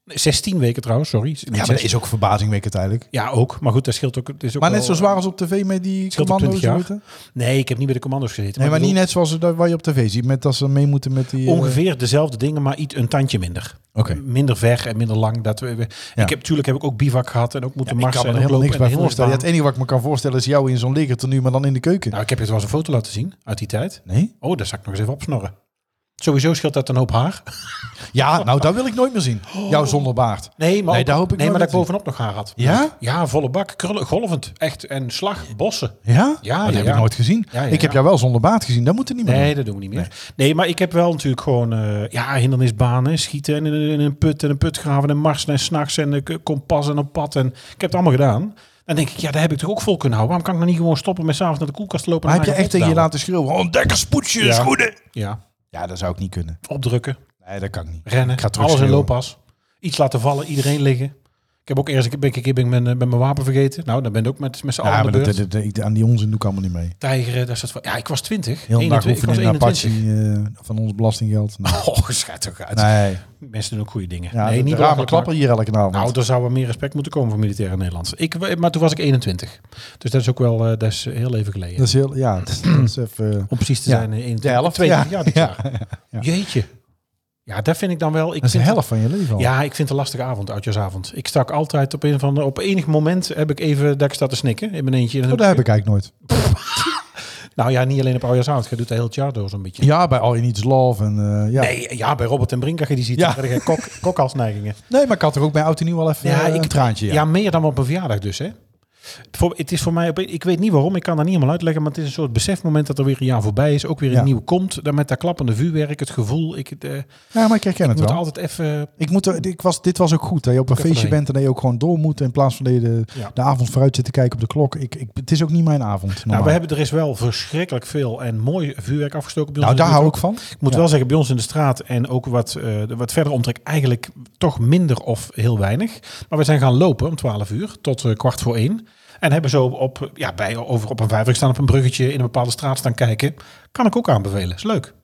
C: Nee, Zestien weken trouwens, sorry. Niet
B: Ja, maar
C: zes.
B: dat is ook verbazingwekkend eigenlijk.
C: Ja, ook. Maar goed, dat scheelt ook. Het is ook
B: Maar
C: wel-
B: net zo zwaar als op tv met die
C: Scheelt op
B: commando's
C: 20 jaar.
B: zitten? Nee,
C: Nee, ik heb niet bij de commando's gezeten.
B: maar,
C: ik
B: niet
C: bedoel,
B: net zoals dat waar je op tv ziet. Met dat ze mee moeten met die... eh,
C: Ongeveer dezelfde dingen, maar iets een tandje minder.
B: Oké.
C: Minder ver en minder lang. Dat we, we-
B: Ja.
C: Ik heb natuurlijk heb ik ook bivak gehad en ook moeten
B: Ik
C: marsen
B: kan me
C: en
B: er
C: ook
B: helemaal
C: lopen
B: niks
C: en
B: bij
C: heel
B: voorstellen. Ja,
C: staan.
B: het enige wat ik me kan voorstellen is jou in zo'n legertenu, maar dan in de keuken.
C: Nou, ik heb je trouwens een foto laten zien uit die tijd.
B: nee?
C: Oh, daar zal ik nog eens even opsnorren. Sowieso scheelt dat een hoop haar.
B: Ja, nou, dat wil ik nooit meer zien. Jou zonder baard.
C: Nee, maar,
B: Nee,
C: ook-
B: daar hoop ik
C: nee, maar
B: nooit
C: dat ik
B: dat-
C: bovenop nog haar had.
B: Ja?
C: Ja, volle bak, krullen, golvend. Echt, en slag, bossen.
B: Ja? Oh,
C: Ja,
B: dat
C: ja,
B: heb
C: ja.
B: ik nooit gezien.
C: Ja, ja,
B: ik heb
C: ja.
B: jou wel zonder baard gezien. Dat moet er niet meer.
C: Nee, dat doen we niet meer. Nee, maar ik heb wel natuurlijk gewoon eh, ja, hindernisbanen, schieten en in, in een put en een put graven en marsen en s'nachts en eh, k- kompas en een pad. En ik heb het allemaal gedaan. Dan denk ik, ja, daar heb ik toch ook vol kunnen houden. Waarom kan ik dan niet gewoon stoppen met s'avonds naar de koelkast te lopen?
B: Maar
C: en
B: heb je
C: mijn
B: echt tegen je
C: eigen
B: laten schreeuwen? Ontdekkerspoetsje,
C: Ja.
B: schoenen!
C: pot te douwen?
B: Ja, dat zou ik niet kunnen.
C: Ja, opdrukken,
B: Nee, dat kan ik niet.
C: rennen,
B: Ik ga terug
C: alles in
B: schreeuwen.
C: looppas. Iets laten vallen, iedereen liggen. Ik heb ook eerst een keer, een keer ben ik mijn, eh, ben mijn wapen vergeten. Nou, dan ben ik ook met, met z'n allen
B: Ja,
C: aan de
B: maar dat,
C: beurt.
B: dat, dat- ik- aan die onzin doe ik allemaal niet mee.
C: Tijgeren, dat soort van... Ja, ik was 20.
B: Heel een dag
C: 21, ik was
B: oefenen in een
C: 21.
B: Apache eh, van ons belastinggeld. Nee.
C: Oh, schijt toch uit.
B: Nee,
C: Mensen doen ook goede dingen.
B: ja,
C: nee, niet
B: de ramen
C: belachelijk maken.
B: klappen hier elke avond.
C: Nou, er zou wel meer respect moeten komen voor militairen in Nederland. Ik, eh, maar toen was ik 21. Dus dat is ook wel eh, dat is heel even geleden.
B: dat is heel, ja, dat is, dat is even... eh,
C: Om precies te
B: Dus- Ja,
C: zijn, eh, 21,
B: de helft,
C: 22
B: ja.
C: jaar dit
B: Ja,
C: jaar. Jeetje. Ja, dat vind ik dan wel... Ik
B: dat is de
C: vind
B: helft van je leven al.
C: Ja, ik vind het een lastige avond, oudjaarsavond. Ik stak altijd op een van de, op enig moment heb ik even dat ik sta te snikken in mijn eentje. in een
B: Oh, dat heb
C: hoekje.
B: ik eigenlijk nooit.
C: Nou ja, niet alleen op oudjaarsavond. Je doet dat heel het jaar door zo'n beetje.
B: Ja, bij All You Need Is Love. En, eh, ja. nee.
C: Nee, ja, bij Robert en Brink had je die ziet,
B: Ja.
C: dan krijg je kok, kokhalsneigingen.
B: maar ik had er ook bij Oud en Nieuw al even eh, een traantje. Ja.
C: Ja, meer dan op een verjaardag dus, hè? Voor, het is voor mij, op- ik weet niet waarom, ik kan dat niet helemaal uitleggen, maar het is een soort besefmoment dat er weer een jaar voorbij is, ook weer een
B: Ja.
C: nieuw komt, dan met dat klappende vuurwerk, het gevoel, ik eh,
B: Ja, maar ik herken het
C: moet
B: wel.
C: altijd even,
B: Ik moet er, ik was, dit was ook goed. Dat je op een
C: Even
B: feestje
C: doorheen.
B: bent en dat je ook gewoon door moet. In plaats van dat je de,
C: Ja.
B: de avond vooruit zit te kijken op de klok. Ik, ik, het is ook niet mijn avond.
C: nou
B: normaal.
C: we hebben er is wel verschrikkelijk veel en mooi vuurwerk afgestoken bij ons
B: nou
C: in de
B: daar hou
C: buurt
B: ik van.
C: ook. Ik moet
B: ja.
C: wel zeggen, bij ons in de straat en ook wat, eh, de wat verder omtrek eigenlijk toch minder of heel weinig. Maar we zijn gaan lopen om 12 uur tot eh, kwart voor één. En hebben zo op, ja, bij, over op een vijver staan op een bruggetje in een bepaalde straat staan kijken. Kan ik ook aanbevelen, is leuk.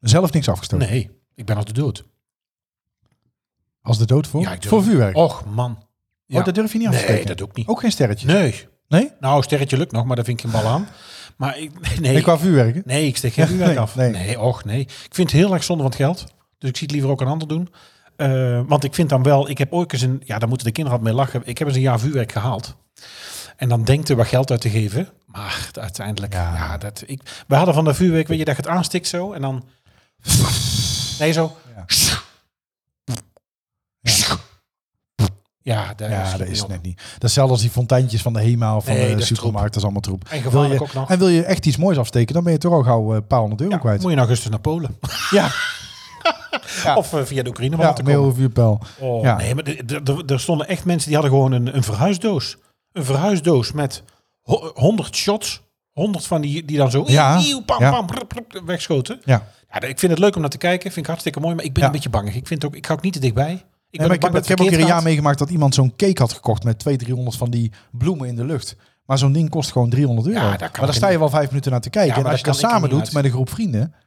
B: Zelf niks afgestoken.
C: Nee, ik ben al te dood.
B: Als de dood voor?
C: Ja, ik durf-
B: voor vuurwerk.
C: Och man. Ja.
B: Oh, dat durf je niet af te
C: nee,
B: steken?
C: dat ook niet.
B: Ook geen sterretje?
C: Nee.
B: Nee?
C: Nou, sterretje lukt nog, maar daar vind ik geen bal aan. Maar ik, nee,
B: Ik wou vuurwerken.
C: nee, ik steek geen
B: Ja,
C: vuurwerk
B: nee,
C: af. Nee.
B: nee.
C: och nee. Ik vind het heel erg zonde van het geld. Dus ik zie het liever ook een ander doen. Eh, want ik vind dan wel, ik heb ooit eens een, ja, daar moeten de kinderen altijd mee lachen. Ik heb eens een jaar vuurwerk gehaald. En dan denkt er wat geld uit te geven. Maar uiteindelijk, ja, dat, ik, we hadden van dat vuurwerk, weet je, dat je het aanstikt zo. En dan, nee zo.
B: Ja.
C: Ja, daar
B: Ja,
C: schiet
B: dat
C: niet
B: is
C: op.
B: net niet. Dat is hetzelfde als die fonteintjes van de HEMA of van
C: Nee, dat
B: de
C: is troep.
B: supermarkt. Dat is allemaal
C: En
B: troep.
C: gevaarlijk
B: wil je,
C: ook nog.
B: En wil je echt iets moois afsteken, dan ben je toch al gauw eh, een paar honderd euro
C: Ja,
B: kwijt.
C: Moet je in augustus naar Polen.
B: Ja, Ja.
C: Of eh, via de Oekraïne om
B: ja
C: aan te
B: een heel
C: komen.
B: vuurpijl.
C: Oh,
B: ja.
C: Nee, maar de- de- de- er stonden echt mensen die hadden gewoon een, een verhuisdoos. Een verhuisdoos met ho- 100 shots. 100 van die die dan zo
B: Ja,
C: ieuw, pam,
B: ja.
C: pam, brr, brr, wegschoten.
B: Ja.
C: Ja, ik vind het leuk om naar te kijken. Vind ik hartstikke mooi. Maar ik ben
B: Ja.
C: een beetje bang. Ik, vind ook, ik hou ook niet te dichtbij. Ik, ben
B: Nee, maar
C: ook
B: ik heb,
C: bang dat
B: ik heb
C: het
B: ook weer een
C: verkeerd
B: jaar meegemaakt dat iemand zo'n cake had gekocht met 200, 300 van die bloemen in de lucht. Maar zo'n ding kost gewoon 300 euro.
C: Ja, daar kan
B: maar
C: ik
B: daar sta je wel vijf minuten naar te kijken.
C: Ja,
B: en
C: maar
B: als je
C: daar
B: dat
C: kan ik
B: samen
C: er niet
B: doet
C: uit.
B: met een groep vrienden,
C: gaat.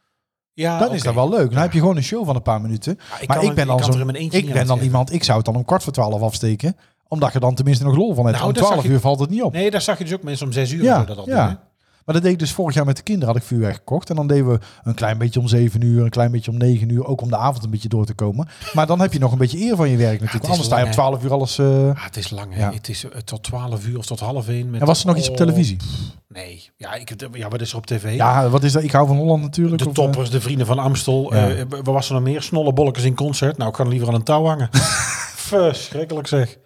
C: Ja,
B: dan is
C: oké.
B: dat wel leuk. Dan heb je gewoon een show van een paar minuten.
C: Ja, ik
B: maar
C: kan
B: ik ben
C: het-
B: dan,
C: kan
B: zo,
C: er in mijn eentje
B: ik
C: niet
B: ben
C: aan
B: dan
C: het
B: iemand, ik zou het dan om kwart voor twaalf afsteken. Omdat je dan tenminste nog lol van hebt.
C: Nou,
B: om
C: dat zag
B: 12
C: ik-
B: uur valt het niet op.
C: geven. Nee, daar zag je dus ook mensen om zes uur.
B: Ja,
C: zo dat al
B: ja.
C: doen, hè?
B: Maar dat deed ik dus vorig jaar met de kinderen. Had ik vuurwerk gekocht. En dan deden we een klein beetje om 7 uur, een klein beetje om 9 uur. Ook om de avond een beetje door te komen. Maar dan heb je nog een beetje eer van je werk natuurlijk.
C: is
B: Anders sta je om
C: lang,
B: 12 uur alles. eh,
C: Ah, het is lang, hè?
B: Ja.
C: Het is eh, tot 12 uur of tot half één. Met
B: En was er nog iets op
C: Oh,
B: televisie?
C: Nee. Ja, ik, heb- ja, wat is er op tv?
B: Ja, wat is dat? Ik hou van Holland natuurlijk.
C: De
B: of, eh,
C: toppers, de vrienden van Amstel.
B: Ja.
C: eh, wat was er nog meer? Snolle bolletjes in concert. Nou, ik kan liever aan een touw hangen. Verschrikkelijk zeg.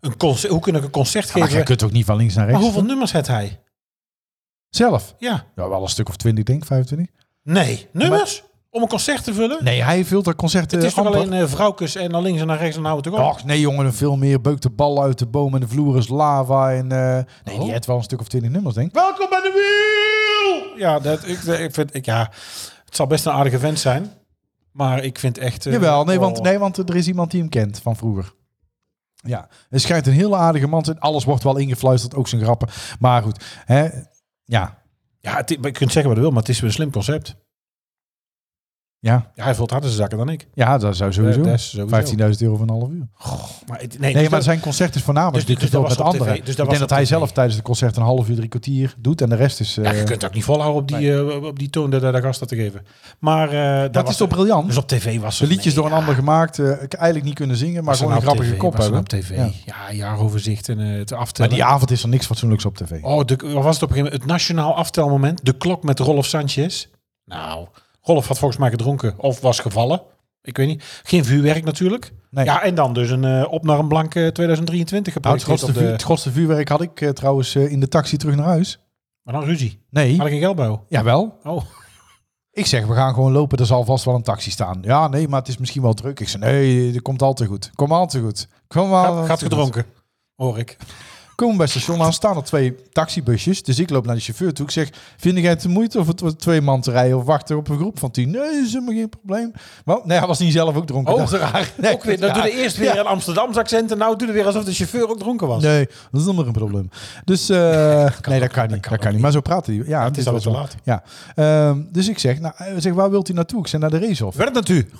C: Een concert, hoe kun ik een concert
B: maar
C: geven?
B: jij kunt ook niet van links naar
C: maar
B: rechts.
C: hoeveel nummers heeft hij?
B: Zelf?
C: Ja.
B: Ja, wel een stuk of 20 denk ik, 25.
C: Nee, nummers? Om een concert te vullen?
B: Nee, hij vult dat concert
C: het is toch
B: amper.
C: alleen eh vrouwkes en naar links en naar rechts en houden toch op?
B: Och, nee jongen, veel meer. Beukt de ballen uit de boom en de vloer is lava. En, eh, nee,
C: Oh.
B: die heeft wel een stuk of 20 nummers denk ik.
C: Welkom bij de wiel! Ja, dat, ik, eh, ik vind, ik, ja, het zal best een aardige vent zijn. Maar ik vind echt... eh,
B: Jawel, nee, want,
C: oh.
B: nee, want er is iemand die hem kent van vroeger. Ja, het schijnt een heel aardige man te zijn. Alles wordt wel ingefluisterd, ook zijn grappen. Maar goed, hè, ja,
C: Ja, het, je kunt zeggen wat je wil, maar het is weer een slim concept.
B: ja,
C: Ja, hij vult harder zijn zakken dan ik.
B: ja, dat zou sowieso.
C: Eh, dat is sowieso.
B: 15.000 euro van een half uur.
C: Maar, het- nee, dus
B: Nee, maar
C: dat-
B: zijn concert is
C: Dus-
B: voornamelijk dus,
C: dus dat
B: gespeeld
C: was
B: met
C: op tv.
B: anderen.
C: Dus dat
B: ik
C: was
B: denk dat
C: op
B: hij
C: tv.
B: zelf tijdens het concert een half uur, drie kwartier doet. En de rest is... eh
C: Ja, je kunt het ook niet volhouden op die, eh, op die toon dat daar de gast had te geven. Maar eh, dat
B: dat
C: was
B: is toch
C: er-
B: briljant?
C: Dus op tv was
B: de
C: er- nee,
B: liedjes door een
C: ja,
B: ander gemaakt. eh, ik eigenlijk niet kunnen zingen, maar
C: was er
B: gewoon een
C: nou op
B: grappige
C: TV,
B: kop
C: was er
B: hebben.
C: nou
B: Ja.
C: op tv. Ja, jaaroverzicht en eh, het
B: Maar
C: aftellen.
B: die avond is er niks fatsoenlijks op tv.
C: Oh, de, wat was het op een gegeven moment? Het nationaal aftelmoment. De klok met Rolf Sanchez. Nou, Rolf had volgens mij gedronken of was gevallen. Ik weet niet. Geen vuurwerk natuurlijk.
B: Nee.
C: Ja, en dan dus een eh, op naar een blanke 2023
B: Nou,
C: geprojecteerd
B: het, grootste
C: op
B: vuur,
C: de...
B: het grootste vuurwerk had ik eh, trouwens eh, in de taxi terug naar huis.
C: Maar dan ruzie.
B: Nee,
C: Had ik een geldbouw?
B: jawel.
C: Oh.
B: Ik zeg, we gaan gewoon lopen. Er zal vast wel een taxi staan. Ja, nee, maar het is misschien wel druk. Ik zeg, nee, dat komt altijd goed. Kom altijd goed. Kom altijd
C: Gaat,
B: goed.
C: gaat gedronken. Hoor ik.
B: Komen we bij het station aan, staan er twee taxibusjes. Dus ik loop naar de chauffeur toe. Ik zeg, vind jij het de moeite of het wordt twee man te rijden of wachten op een groep van tien? Nee, is helemaal geen probleem. Want, nee, hij was niet zelf ook dronken.
C: Oh,
B: Dat-
C: raar.
B: Nee,
C: ook weer, nou,
B: ja.
C: doe je eerst weer een Amsterdams accent en nou doe je weer alsof de chauffeur ook dronken was.
B: Nee, dat is nog een probleem. Dus eh, nee, dat kan niet. Dat kan, niet. Maar zo praten die. Ja, het
C: is
B: wel
C: alweer te
B: zo.
C: laat.
B: Ja. Ehm, dus ik zeg, nou, eh, zeg, waar wilt u naartoe? Ik zeg, naar de racehof.
C: Werd het u?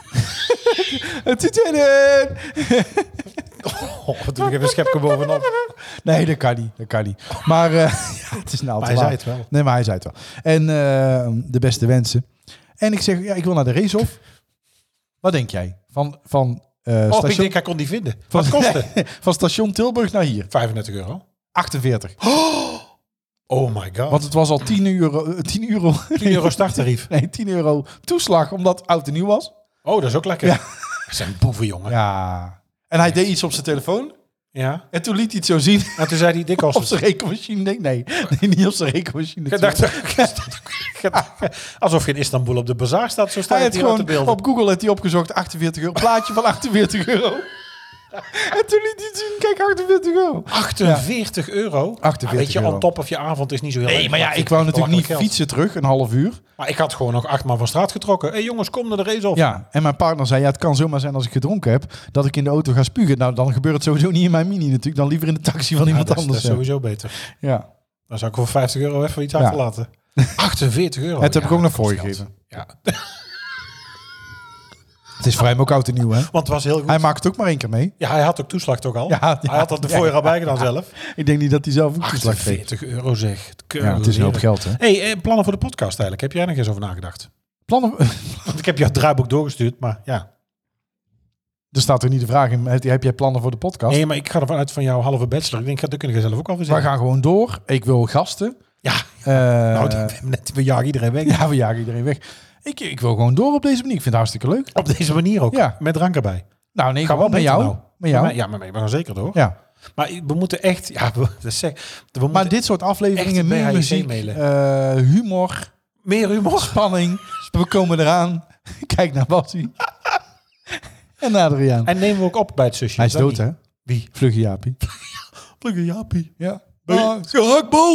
B: Het zit erin!
C: Oh, toen ik even een schepje bovenop.
B: Nee, dat kan niet. Dat kan niet. Maar eh, ja, het is nou
C: Maar hij
B: te
C: zei
B: laat.
C: het wel.
B: Nee, maar hij zei het wel. En eh, de beste wensen. En ik zeg, ja, ik wil naar de racehof. Wat denk jij? Van, van, eh,
C: Oh, ik
B: station,
C: denk, hij kon die vinden. Wat kostte?
B: van station Tilburg naar hier.
C: 35 euro.
B: 48.
C: Oh my god.
B: Want het was al eh, 10 euro. 10 euro.
C: 10 euro starttarief.
B: Nee, 10 euro toeslag omdat oud en nieuw was.
C: Oh, dat is ook lekker.
B: Ja.
C: Dat zijn boeven, jongen. Ja.
B: Ja. En hij deed iets op zijn telefoon. En toen liet hij het zo zien
C: Maar toen zei hij, dik
B: op
C: als
B: zijn rekenmachine. Nee, nee, nee niet op zijn rekenmachine.
C: Ik dacht, alsof je in Istanbul op de bazaar staat. Zo staat
B: hij
C: het
B: heeft
C: hier op de
B: gewoon
C: beelden.
B: op Google heeft hij opgezocht 48 euro. Plaatje van 48 euro. en toen liet hij het zien. Kijk, 48 euro.
C: 48 euro.
B: 48
C: Ah, weet je,
B: euro.
C: on top of je avond is niet zo heel
B: Nee,
C: erg,
B: maar ja,
C: vind
B: ik wou
C: het
B: natuurlijk niet
C: belachelijk
B: fietsen terug, een half uur.
C: geld. Maar ik had gewoon nog acht man van straat getrokken. Hé hey, jongens, kom naar de race op.
B: Ja, en mijn partner zei, ja, het kan zomaar zijn als ik gedronken heb, dat ik in de auto ga spugen. Nou, dan gebeurt het sowieso niet in mijn mini natuurlijk, dan liever in de taxi van
C: Ja,
B: iemand
C: dat, is- dat
B: anders.
C: is sowieso Oh, beter.
B: Ja.
C: Dan zou ik voor 50 euro even iets
B: Ja.
C: achterlaten. 48 euro.
B: Het heb
C: Ja,
B: ik ook nog
C: dat kost
B: voor je
C: geld.
B: gegeven.
C: Ja.
B: Het is voor hem ook oud en nieuw, hè?
C: Want het was heel goed.
B: Hij maakt het ook maar één keer mee.
C: Ja, hij had ook toeslag toch al?
B: Ja, ja.
C: hij had dat de
B: Ja,
C: voorjaar al
B: ja.
C: bij gedaan zelf.
B: Ik denk niet dat hij zelf ook toeslag kreeg.
C: 48 euro zeg.
B: Ja, het is een hoop geld, hè?
C: hey, eh, plannen voor de podcast eigenlijk. Heb jij er nog eens over nagedacht?
B: Plannen...
C: Want ik heb jouw draaiboek doorgestuurd, maar ja.
B: Er staat er niet de vraag in, heb heb jij plannen voor de podcast?
C: Nee, maar ik ga ervan uit van jouw halve bachelor. Ik denk, ja, dat kunnen je zelf ook alweer
B: We
C: zeggen.
B: gaan gewoon door. Ik wil gasten.
C: Ja,
B: Eh,
C: nou, die- we hebben net, we jagen iedereen weg.
B: ja, we jagen iedereen weg. Ik, ik wil gewoon door op deze manier. Ik vind het hartstikke leuk.
C: Op deze manier ook.
B: Ja.
C: Met drank erbij.
B: Nou, nee,
C: Ga wel
B: gewoon met
C: beter
B: jou.
C: nou.
B: Met jou.
C: Ja, maar, maar, maar zeker door.
B: ja.
C: Maar we moeten echt... Ja, we, dat zeg, we
B: Maar
C: moeten
B: dit soort afleveringen,
C: echt
B: meer
C: BHIC
B: muziek,
C: mailen.
B: eh, humor,
C: meer humor.
B: spanning. We komen eraan. Kijk naar Bassie. en naar Adriaan.
C: En nemen we ook op bij het zusje.
B: Hij is
C: dat
B: dood,
C: niet?
B: hè?
C: Wie?
B: Vlugge Jaapie.
C: Plukken Jaapie.
B: Ja.
C: Ah,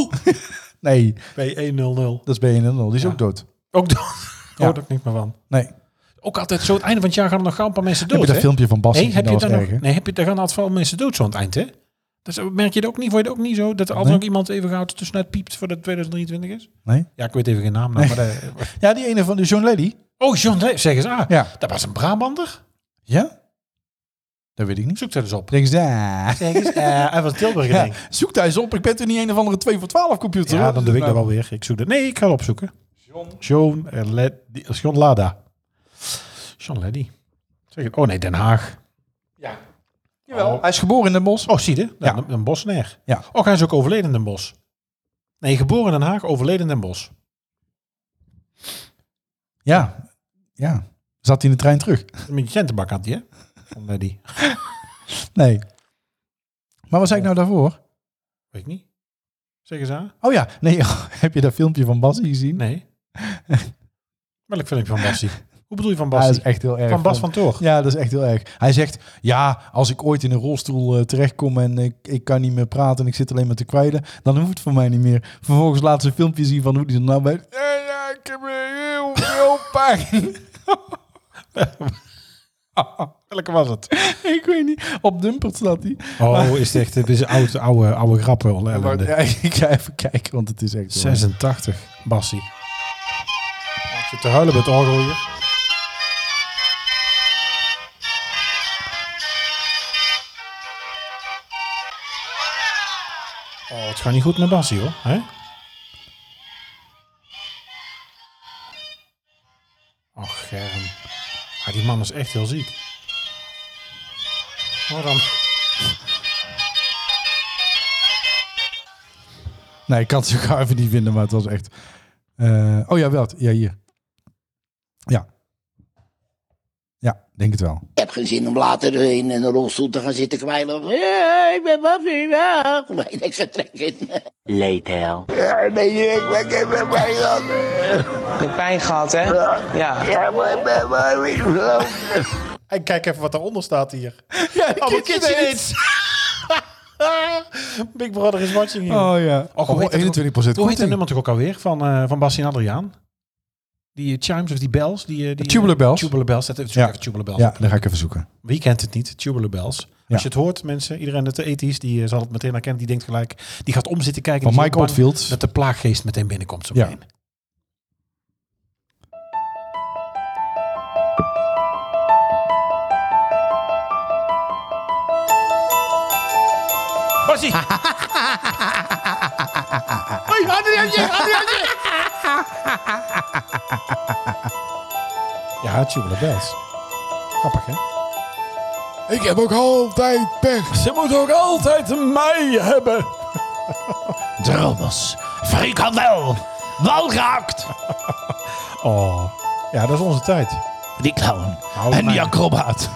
B: nee,
C: Bij 100.
B: dat is BNN. Die is ook dood.
C: E Ook dood.
B: Ja.
C: Hoor ik niks meer van.
B: Nee. Heb
C: Ook altijd zo, het einde van het jaar gaan er nog gauw een paar mensen
B: je
C: dood,
B: dat
C: hè?
B: filmpje van Bassie
C: Nee, heb
B: gezien?
C: je
B: Dat
C: daar
B: was
C: nog,
B: erg, hè?
C: nee, heb je, daar gaan altijd veel mensen dood zo aan het eind, hè? Dus merk je dat ook niet? Word je dat ook niet zo? Dat er altijd
B: Nee.
C: nog iemand even gauw tussenuit piept voordat het 2023 is?
B: Nee.
C: Ja, ik weet even geen naam. nou, maar dat-
B: Ja, die ene van de John Lady.
C: oh, John, nee, zeg eens ah,
B: Ja.
C: Dat was een Brabander.
B: Ja? Dat weet ik niet.
C: Zoek dat eens op.
B: Denk ze, ah.
C: Zeg eens, eh, hij was Tilburg,
B: Ja,
C: denk ik.
B: zoek daar eens op. Ik ben toch niet een of andere 2 voor 12 computer.
C: Ja,
B: hoor.
C: dan doe ik
B: Nou,
C: dat wel weer. Ik zoek dat. Nee, ik ga het opzoeken. John, John, eh, Led, die- John Lada. John Leddy. Zeg het. Oh nee, Den Haag.
B: jawel. Hij is geboren in Den Bosch.
C: Oh, zie je?
B: Ja.
C: Ja. Den, Den Bosch neer.
B: Ja.
C: Och, hij is ook overleden in Den Bosch. Nee, geboren in Den Haag, overleden in Den Bosch.
B: Ja. Ja. Zat hij in de trein terug?
C: Met je centenbak had hij, hè? eh, John Leddy.
B: Nee. Maar wat zei ik nou daarvoor?
C: Weet ik niet. Zeg eens aan.
B: Oh ja, nee, heb je dat filmpje van Bassie gezien?
C: Nee. Welk filmpje van Bassie? Hoe bedoel je van
B: Ja,
C: Bassie?
B: dat is echt heel erg.
C: van Bas van Toor.
B: Ja, dat is echt heel erg. Hij zegt, ja, als ik ooit in een rolstoel eh, terechtkom en ik, ik kan niet meer praten en ik zit alleen maar te kwijlen, dan hoeft het voor mij niet meer. Vervolgens laat ze een filmpje zien van hoe die er nou bij... Ja, ja, ik heb heel veel pijn.
C: Welke was het?
B: ik weet niet, op Dumpert staat hij.
C: Oh, is het echt... Het is oude, oude, oude grappen. wel,
B: Maar,
C: ellende. Oh,
B: ja, ik ga even kijken, want het is echt... wel-
C: 86, Bassie. Ik zit te huilen bij het orgel hier. Oh, het gaat niet goed met Bassie hoor. Hè? Och, Germ. Ah, die man is echt heel ziek. Hoor dan.
B: Nee, ik kan het zo gauw even niet vinden, maar het was echt... Eh, oh ja, wel. Ja, hier. Ja. Ja, denk het wel.
H: Ik heb geen zin om later in een rolstoel te gaan zitten kwijlen. Of, "Ja, ik ben wat weg. Nee, ik vertrek in.
I: Later.
H: Ja, nee, ik ben geen meer bij dat.
J: Je hebt pijn gehad, hè? Ja.
H: Ja, maar ik ben maar weer
C: En kijk even wat daaronder staat hier.
B: Ja,
C: Oh, mijn KitchenAids. Big Brother is watching you.
B: Oh ja.
C: Och, hoe heet dat
B: 21
C: Hoe heet dat
B: korting.
C: nummer toch ook alweer van, eh van Bastien Adriaan? Die eh, chimes of die bells? Die, eh, die,
B: Tubular bells.
C: Tubular bells. Dat heeft
B: Ja.
C: even tubular bells.
B: Ja, daar ga ik even zoeken.
C: Wie kent het niet? Tubular bells.
B: Ja.
C: Als je het hoort, mensen, iedereen uit de ethisch, die eh, zal het meteen herkennen. Die denkt gelijk, die gaat om zitten kijken.
B: Van
C: die is
B: Mike
C: heel bang
B: Oldfield.
C: Dat de plaaggeest meteen binnenkomt. Zo
B: Ja.
C: meteen. Bassie! Hoi, Adriaantje, Adriaantje! Ja, Tubular Bells. Grappig, hè?
E: Ik heb ook altijd pech.
C: Ze moet ook altijd mij hebben.
B: Drommels. Frikandel. Walraakt.
C: Oh, ja, dat is onze tijd.
B: Die clown.
C: Hou En mij. die
B: acrobaat.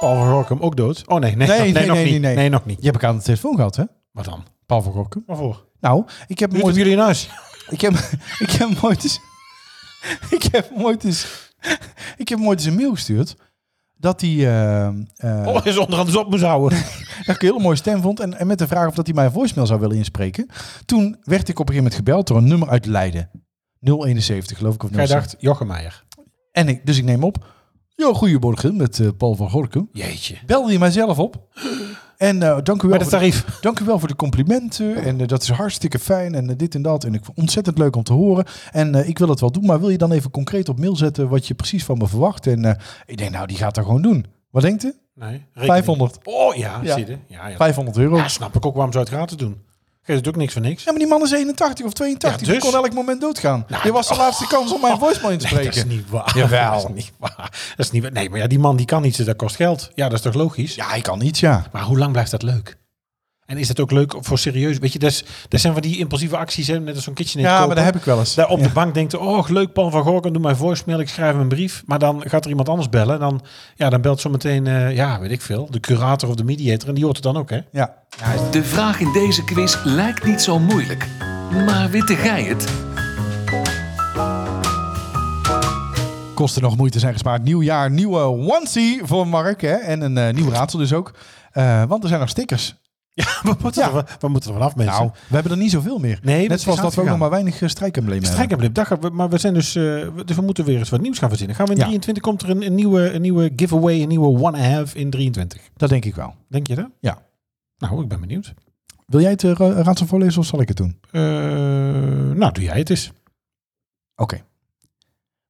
C: Paul van Gorkum ook dood? Oh nee, nee,
B: Nee,
C: nog- nee, nog
B: nee, nee, nee,
C: niet.
B: nee.
C: Nee. nog niet.
B: Je hebt elkaar aan de telefoon gehad, hè?
C: Wat dan?
B: Paul van Gorkum.
C: Waarvoor?
B: Nou, ik heb hem
C: Nu
B: ooit...
C: jullie in huis.
B: Ik heb, ik heb hem ooit eens... Ik heb hem ooit eens... Ik heb hem ooit eens een mail gestuurd. Dat hij... eh, eh,
C: Oh, is onderhand eens op moest houden.
B: dat ik een hele mooie stem vond. En, en met de vraag of dat hij mijn voicemail zou willen inspreken. Toen werd ik op een gegeven moment gebeld door een nummer uit Leiden. 071 geloof ik. Of
C: Jij
B: 070.
C: dacht, Jochemeijer.
B: En ik, dus ik neem op. Jo, goeiemorgen met eh, Paul van Gorkum.
C: Jeetje.
B: Belde je mijzelf op. En eh, dank, u wel
C: Met het
B: voor de,
C: tarief.
B: dank u wel voor de complimenten. En eh, dat is hartstikke fijn. En eh, dit en dat. En ik vond het ontzettend leuk om te horen. En eh, ik wil het wel doen. Maar wil je dan even concreet op mail zetten wat je precies van me verwacht? En eh, ik denk, nou, die gaat dat gewoon doen. Wat denkt u?
C: Nee, rekening.
B: 500.
C: Oh ja,
B: Ja.
C: zie je. Ja, ja.
B: 500 euro.
C: Ja, snap ik ook waarom zou je het gratis doen. Geeft het ook niks voor niks.
B: Ja, maar die man is 81 of 82.
C: Ja, dus? Nou, oh.
B: Die kon elk moment doodgaan. Dit was de laatste kans om mijn voicemail in
C: Nee,
B: te spreken.
C: dat is niet waar.
B: Jawel.
C: Dat is niet waar. Dat is niet waar. Nee, maar ja, die man die kan iets, dat kost geld. Ja, dat is toch logisch?
B: Ja, hij kan niet, ja.
C: Maar hoe lang blijft dat leuk? En is dat ook leuk voor serieus? Weet je, dat, is- dat zijn van die impulsieve acties, hè? net als zo'n kitchen
B: Ja, maar dat heb ik wel eens.
C: Daar op
B: Ja.
C: de bank denkt, oh leuk, Paul van Gorkum, doe mijn voicemail, ik schrijf hem een brief. Maar dan gaat er iemand anders bellen. En dan, ja, dan belt zometeen, eh ja, weet ik veel, de curator of de mediator. En die hoort het dan ook, hè?
B: Ja.
D: De vraag in deze quiz lijkt niet zo moeilijk. Maar witte gij het?
B: Kosten nog moeite zijn gespaard. Nieuw jaar, nieuwe onesie voor Mark. Hè? En een eh, nieuw raadsel dus ook. Eh, want er zijn nog stickers.
C: Wat moeten,
B: Ja.
C: er van- wat moeten er vanaf, mensen?
B: Nou, we hebben er niet zoveel meer.
C: Nee, dat
B: Net
C: is
B: zoals dat we ook
C: uitgegaan.
B: nog maar weinig eh, strijkemblemen hebben.
C: Strijkemblem, dag, we- maar we zijn dus, eh, we- dus we moeten weer eens wat nieuws gaan verzinnen. Gaan we in
B: Ja.
C: 23 komt er een, een nieuwe, een nieuwe giveaway, een nieuwe one and a half in 23.
B: Dat denk ik wel.
C: Denk je dat?
B: Ja.
C: Nou, ik ben benieuwd.
B: Wil jij het eh, ra- raadsel voorlezen of zal ik het doen?
C: Eh, nou, doe jij het eens.
B: Oké.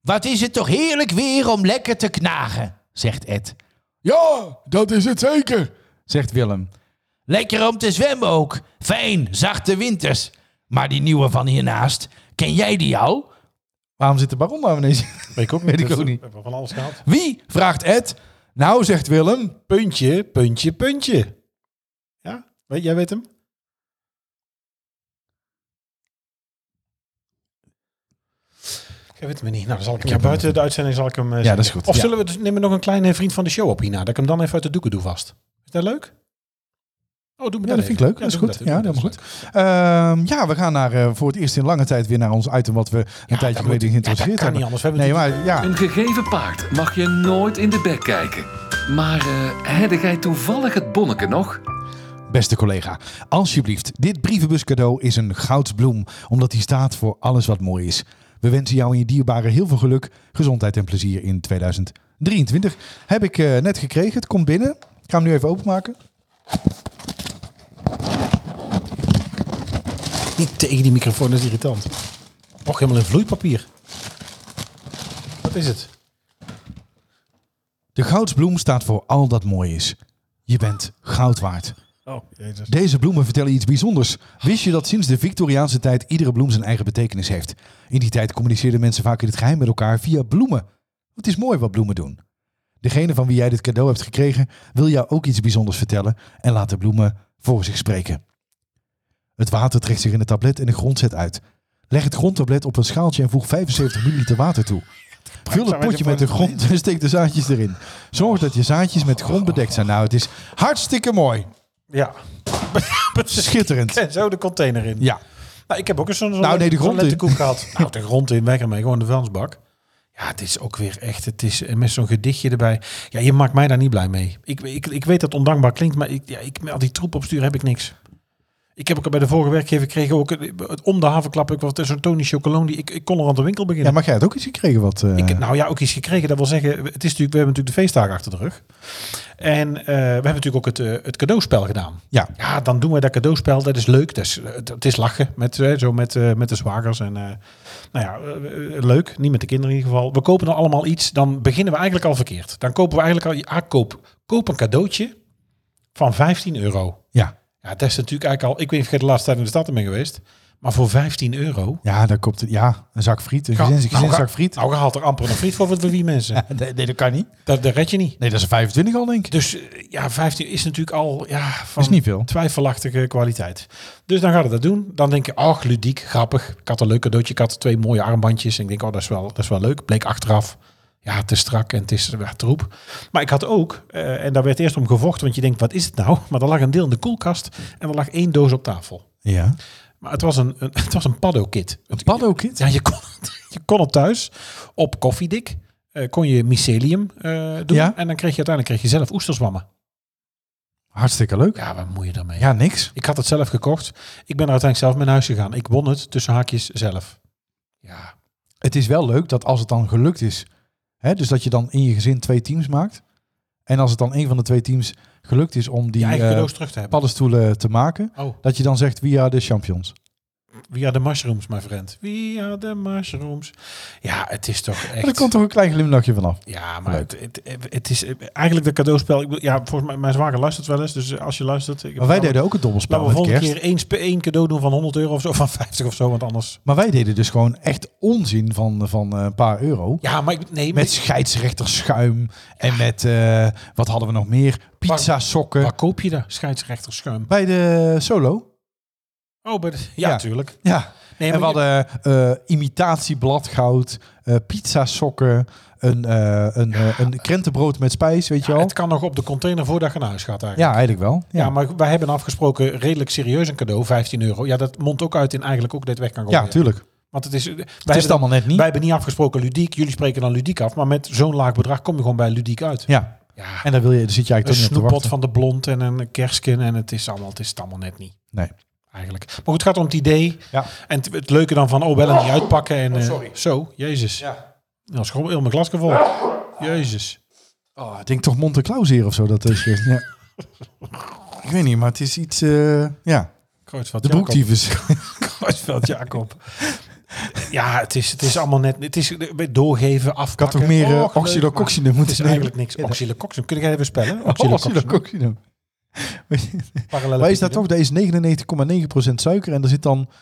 E: Wat is het toch heerlijk weer om lekker te knagen, zegt Ed.
B: Ja, dat is het zeker, zegt Willem.
E: Lekker om te zwemmen ook. Fijn, zachte winters. Maar die nieuwe van hiernaast, ken jij die al?
B: Waarom zit de baron nou ineens?
C: Weet ik ook
B: Weet ik
C: Dus
B: ook
C: we
B: niet.
C: hebben van alles gehad.
B: Wie? vraagt Ed. Nou, zegt Willem.
C: Puntje, puntje, puntje. Ja, weet, jij weet hem? Jij weet hem niet. Nou, dan zal ik hem ja, buiten de uitzending zal ik hem. eh,
B: dat is
C: zeggen.
B: goed.
C: Of
B: Ja.
C: zullen we dus, nemen we nog een kleine vriend van de show op hierna? Dat ik hem dan even uit de doeken doe vast. Is dat leuk? Oh, doe me
B: Ja, dat vind ik leuk. dat is goed. Ja, helemaal goed. Ehm, ja, we gaan naar, eh, voor het eerst in lange tijd weer naar ons item wat we een tijdje geleden
C: dat
B: geïntroduceerd
C: kan niet
B: hebben.
C: anders. We hebben
B: Nee, maar ja.
D: Een gegeven paard mag je nooit in de bek kijken. Maar eh hadden gij toevallig het bonneke nog?
B: Beste collega, alsjeblieft, dit brievenbuscadeau is een goudsbloem, omdat die staat voor alles wat mooi is. We wensen jou en je dierbaren heel veel geluk, gezondheid en plezier in 2023. Heb ik eh, net gekregen, het komt binnen. Ik ga hem nu even openmaken.
C: Niet tegen die microfoon, dat is irritant. Och, helemaal in vloeipapier. Wat is het?
B: De goudsbloem staat voor al dat mooi is. Je bent goud waard.
C: Oh, jezus.
B: Deze bloemen vertellen iets bijzonders. Wist je dat sinds de Victoriaanse tijd iedere bloem zijn eigen betekenis heeft? In die tijd communiceerden mensen vaak in het geheim met elkaar via bloemen. Het is mooi wat bloemen doen. Degene van wie jij dit cadeau hebt gekregen, wil jou ook iets bijzonders vertellen en laat de bloemen voor zich spreken. Het water trekt zich in het tablet en de grond zet uit. Leg het grondtablet op een schaaltje en voeg 75 ml water toe. Vul het potje met de grond en steek de zaadjes erin. Zorg dat je zaadjes met grond bedekt zijn. Nou, het is hartstikke mooi.
C: Ja.
B: Schitterend.
C: En zo de container in.
B: Ja.
C: Nou, ik heb ook eens zo'n
B: Nou, nee, de grond in.
C: koek gehad. nou, de grond in, weg ermee. Gewoon de vuilnisbak. Ja, het is ook weer echt. Het is eh, met zo'n gedichtje erbij. Ja, je maakt mij daar niet blij mee. Ik, ik, ik weet dat het ondankbaar klinkt, maar ik, ja, ik, met al die troep opsturen heb ik niks. Ik heb ook al bij de vorige werkgever gekregen ook eh, het, om de havenklap. Ik was zo'n Tony Chocolon. Die, ik, ik kon er aan de winkel
B: Ja,
C: beginnen.
B: maar jij had ook iets gekregen wat... eh,
C: Ik, nou ja, ook iets gekregen. Dat wil zeggen, het is natuurlijk, we hebben natuurlijk de feestdagen achter de rug. En eh, we hebben natuurlijk ook het, eh, het cadeauspel gedaan.
B: Ja.
C: Ja, dan doen we dat cadeauspel. Dat is leuk. Dat is, eh, het is lachen met, eh, zo met, eh, met de zwagers. En, eh, nou ja, eh, eh, leuk. Niet met de kinderen in ieder geval. We kopen dan allemaal iets. Dan beginnen we eigenlijk al verkeerd. Dan kopen we eigenlijk al... Ah, koop, koop een cadeautje van 15 euro.
B: Ja.
C: Ja, dat is natuurlijk eigenlijk al... Ik weet niet of je de laatste tijd in de stad bent geweest. Maar voor 15 euro...
B: Ja, daar komt het. Ja, een zak friet. Een
C: Ga-
B: gezins,
C: nou, ga-
B: gezinszak friet.
C: Nou, je haalt er amper een friet voor voor wie mensen.
B: nee, nee, dat kan niet.
C: Dat, dat red je niet.
B: Nee, dat is een 25 al, denk ik.
C: Dus eh, ja, 15 is natuurlijk al ja, van
B: Is niet veel.
C: twijfelachtige kwaliteit. Dus dan gaat het dat doen. Dan denk je, ach, ludiek, grappig. Ik had een leuk cadeautje. Ik had twee mooie armbandjes. En ik denk, oh, dat is wel, dat is wel leuk. Bleek achteraf, ja, te strak en het is ja, troep. Maar ik had ook, eh, en daar werd eerst om gevochten, want je denkt, wat is het nou? Maar er lag een deel in de koelkast en er lag één doos op tafel.
B: Ja.
C: Maar het was een, een, het was een paddo-kit. Een
B: Paddo-kit?
C: Ja, je kon, het- je kon het thuis op koffiedik. eh, kon je mycelium eh, doen.
B: Ja.
C: En dan kreeg je uiteindelijk kreeg je zelf oesterzwammen.
B: Hartstikke leuk.
C: Ja, wat moet je daarmee?
B: Ja, niks.
C: Ik had het zelf gekocht. Ik ben er uiteindelijk zelf mee naar huis gegaan. Ik won het tussen haakjes zelf. Ja.
B: Het is wel leuk dat als het dan gelukt is... Hè, dus dat je dan in je gezin twee teams maakt. En als het dan een van de twee teams gelukt is om die
C: Je eigen
B: eh,
C: cadeaus terug te hebben.
B: paddenstoelen te maken...
C: Oh.
B: Dat je dan zegt, wie are de champions?
C: We are the mushrooms, my friend. We are the mushrooms. Ja, het is toch echt...
B: Maar er komt toch een klein glimlachje vanaf.
C: Ja, maar het, het, het is eh, eigenlijk dat cadeauspel. Ik, bedoel, ja, volgens mij, mijn zwager luistert wel eens. Dus als je luistert. Ik
B: Maar wij deden ook het dobbelspel
C: Laten we
B: met
C: volgende
B: kerst.
C: keer één, spe- één cadeau doen van 100 euro of zo, van 50 of zo, want anders.
B: Maar wij deden dus gewoon echt onzin van, van eh, een paar euro.
C: Ja, maar ik, nee,
B: Met scheidsrechterschuim en met, eh, wat hadden we nog meer? Pizza sokken.
C: waar koop je daar scheidsrechter schuim?
B: Bij de solo.
C: Oh, bij de- ja,
B: Ja.
C: natuurlijk.
B: Ja.
C: Nee,
B: en we
C: maar je-
B: hadden eh imitatie bladgoud, eh, pizza sokken, een, eh, een, eh, een krentenbrood met spijs, weet je
C: ja,
B: wel.
C: het kan nog op de container voordat je naar huis gaat eigenlijk.
B: Ja, eigenlijk wel. Ja,
C: Ja, maar wij hebben afgesproken redelijk serieus een cadeau, 15 euro. Ja, dat mondt ook uit in eigenlijk ook dit weg kan gooien.
B: ja tuurlijk.
C: Want het is, wij
B: het is
C: hebben
B: het allemaal net niet.
C: Wij hebben niet afgesproken ludiek. Jullie spreken dan ludiek af. Maar met zo'n laag bedrag kom je gewoon bij ludiek uit.
B: Ja.
C: Ja,
B: En daar wil je, daar zit je
C: een
B: eigenlijk toch niet op te
C: snoeppot
B: wachten.
C: van de blond en een kerskin. En het is allemaal, het is het allemaal net niet.
B: Nee.
C: Eigenlijk. Maar goed, het gaat om het idee.
B: Ja.
C: En het, het leuke dan van, oh, wel en niet uitpakken. En, sorry. Zo, jezus. Ja. Nou, schoon heel mijn glasje vol. Jezus.
B: Oh, ik denk toch Monte Claus hier of zo. Dat is, ja. Ik weet niet, maar het is iets... eh, ja,
C: Kruidvat
B: de
C: Jacob.
B: broektyfus. Oh,
C: Kruidvat Jacob. ja, het is, het is allemaal net... Het is doorgeven, afpakken.
B: Ik had toch meer
C: Och,
B: uh,
C: leuk,
B: oxylocoxine
C: maar Het
B: moeten
C: is eigenlijk niks. Oxylocoxine. Kun jij even spellen? Oxylocoxine.
B: Oxylocoxine.
C: Parallelle
B: Maar is dat toch?
C: piramide.
B: Dat is 99,9% suiker en er zit dan 0,01%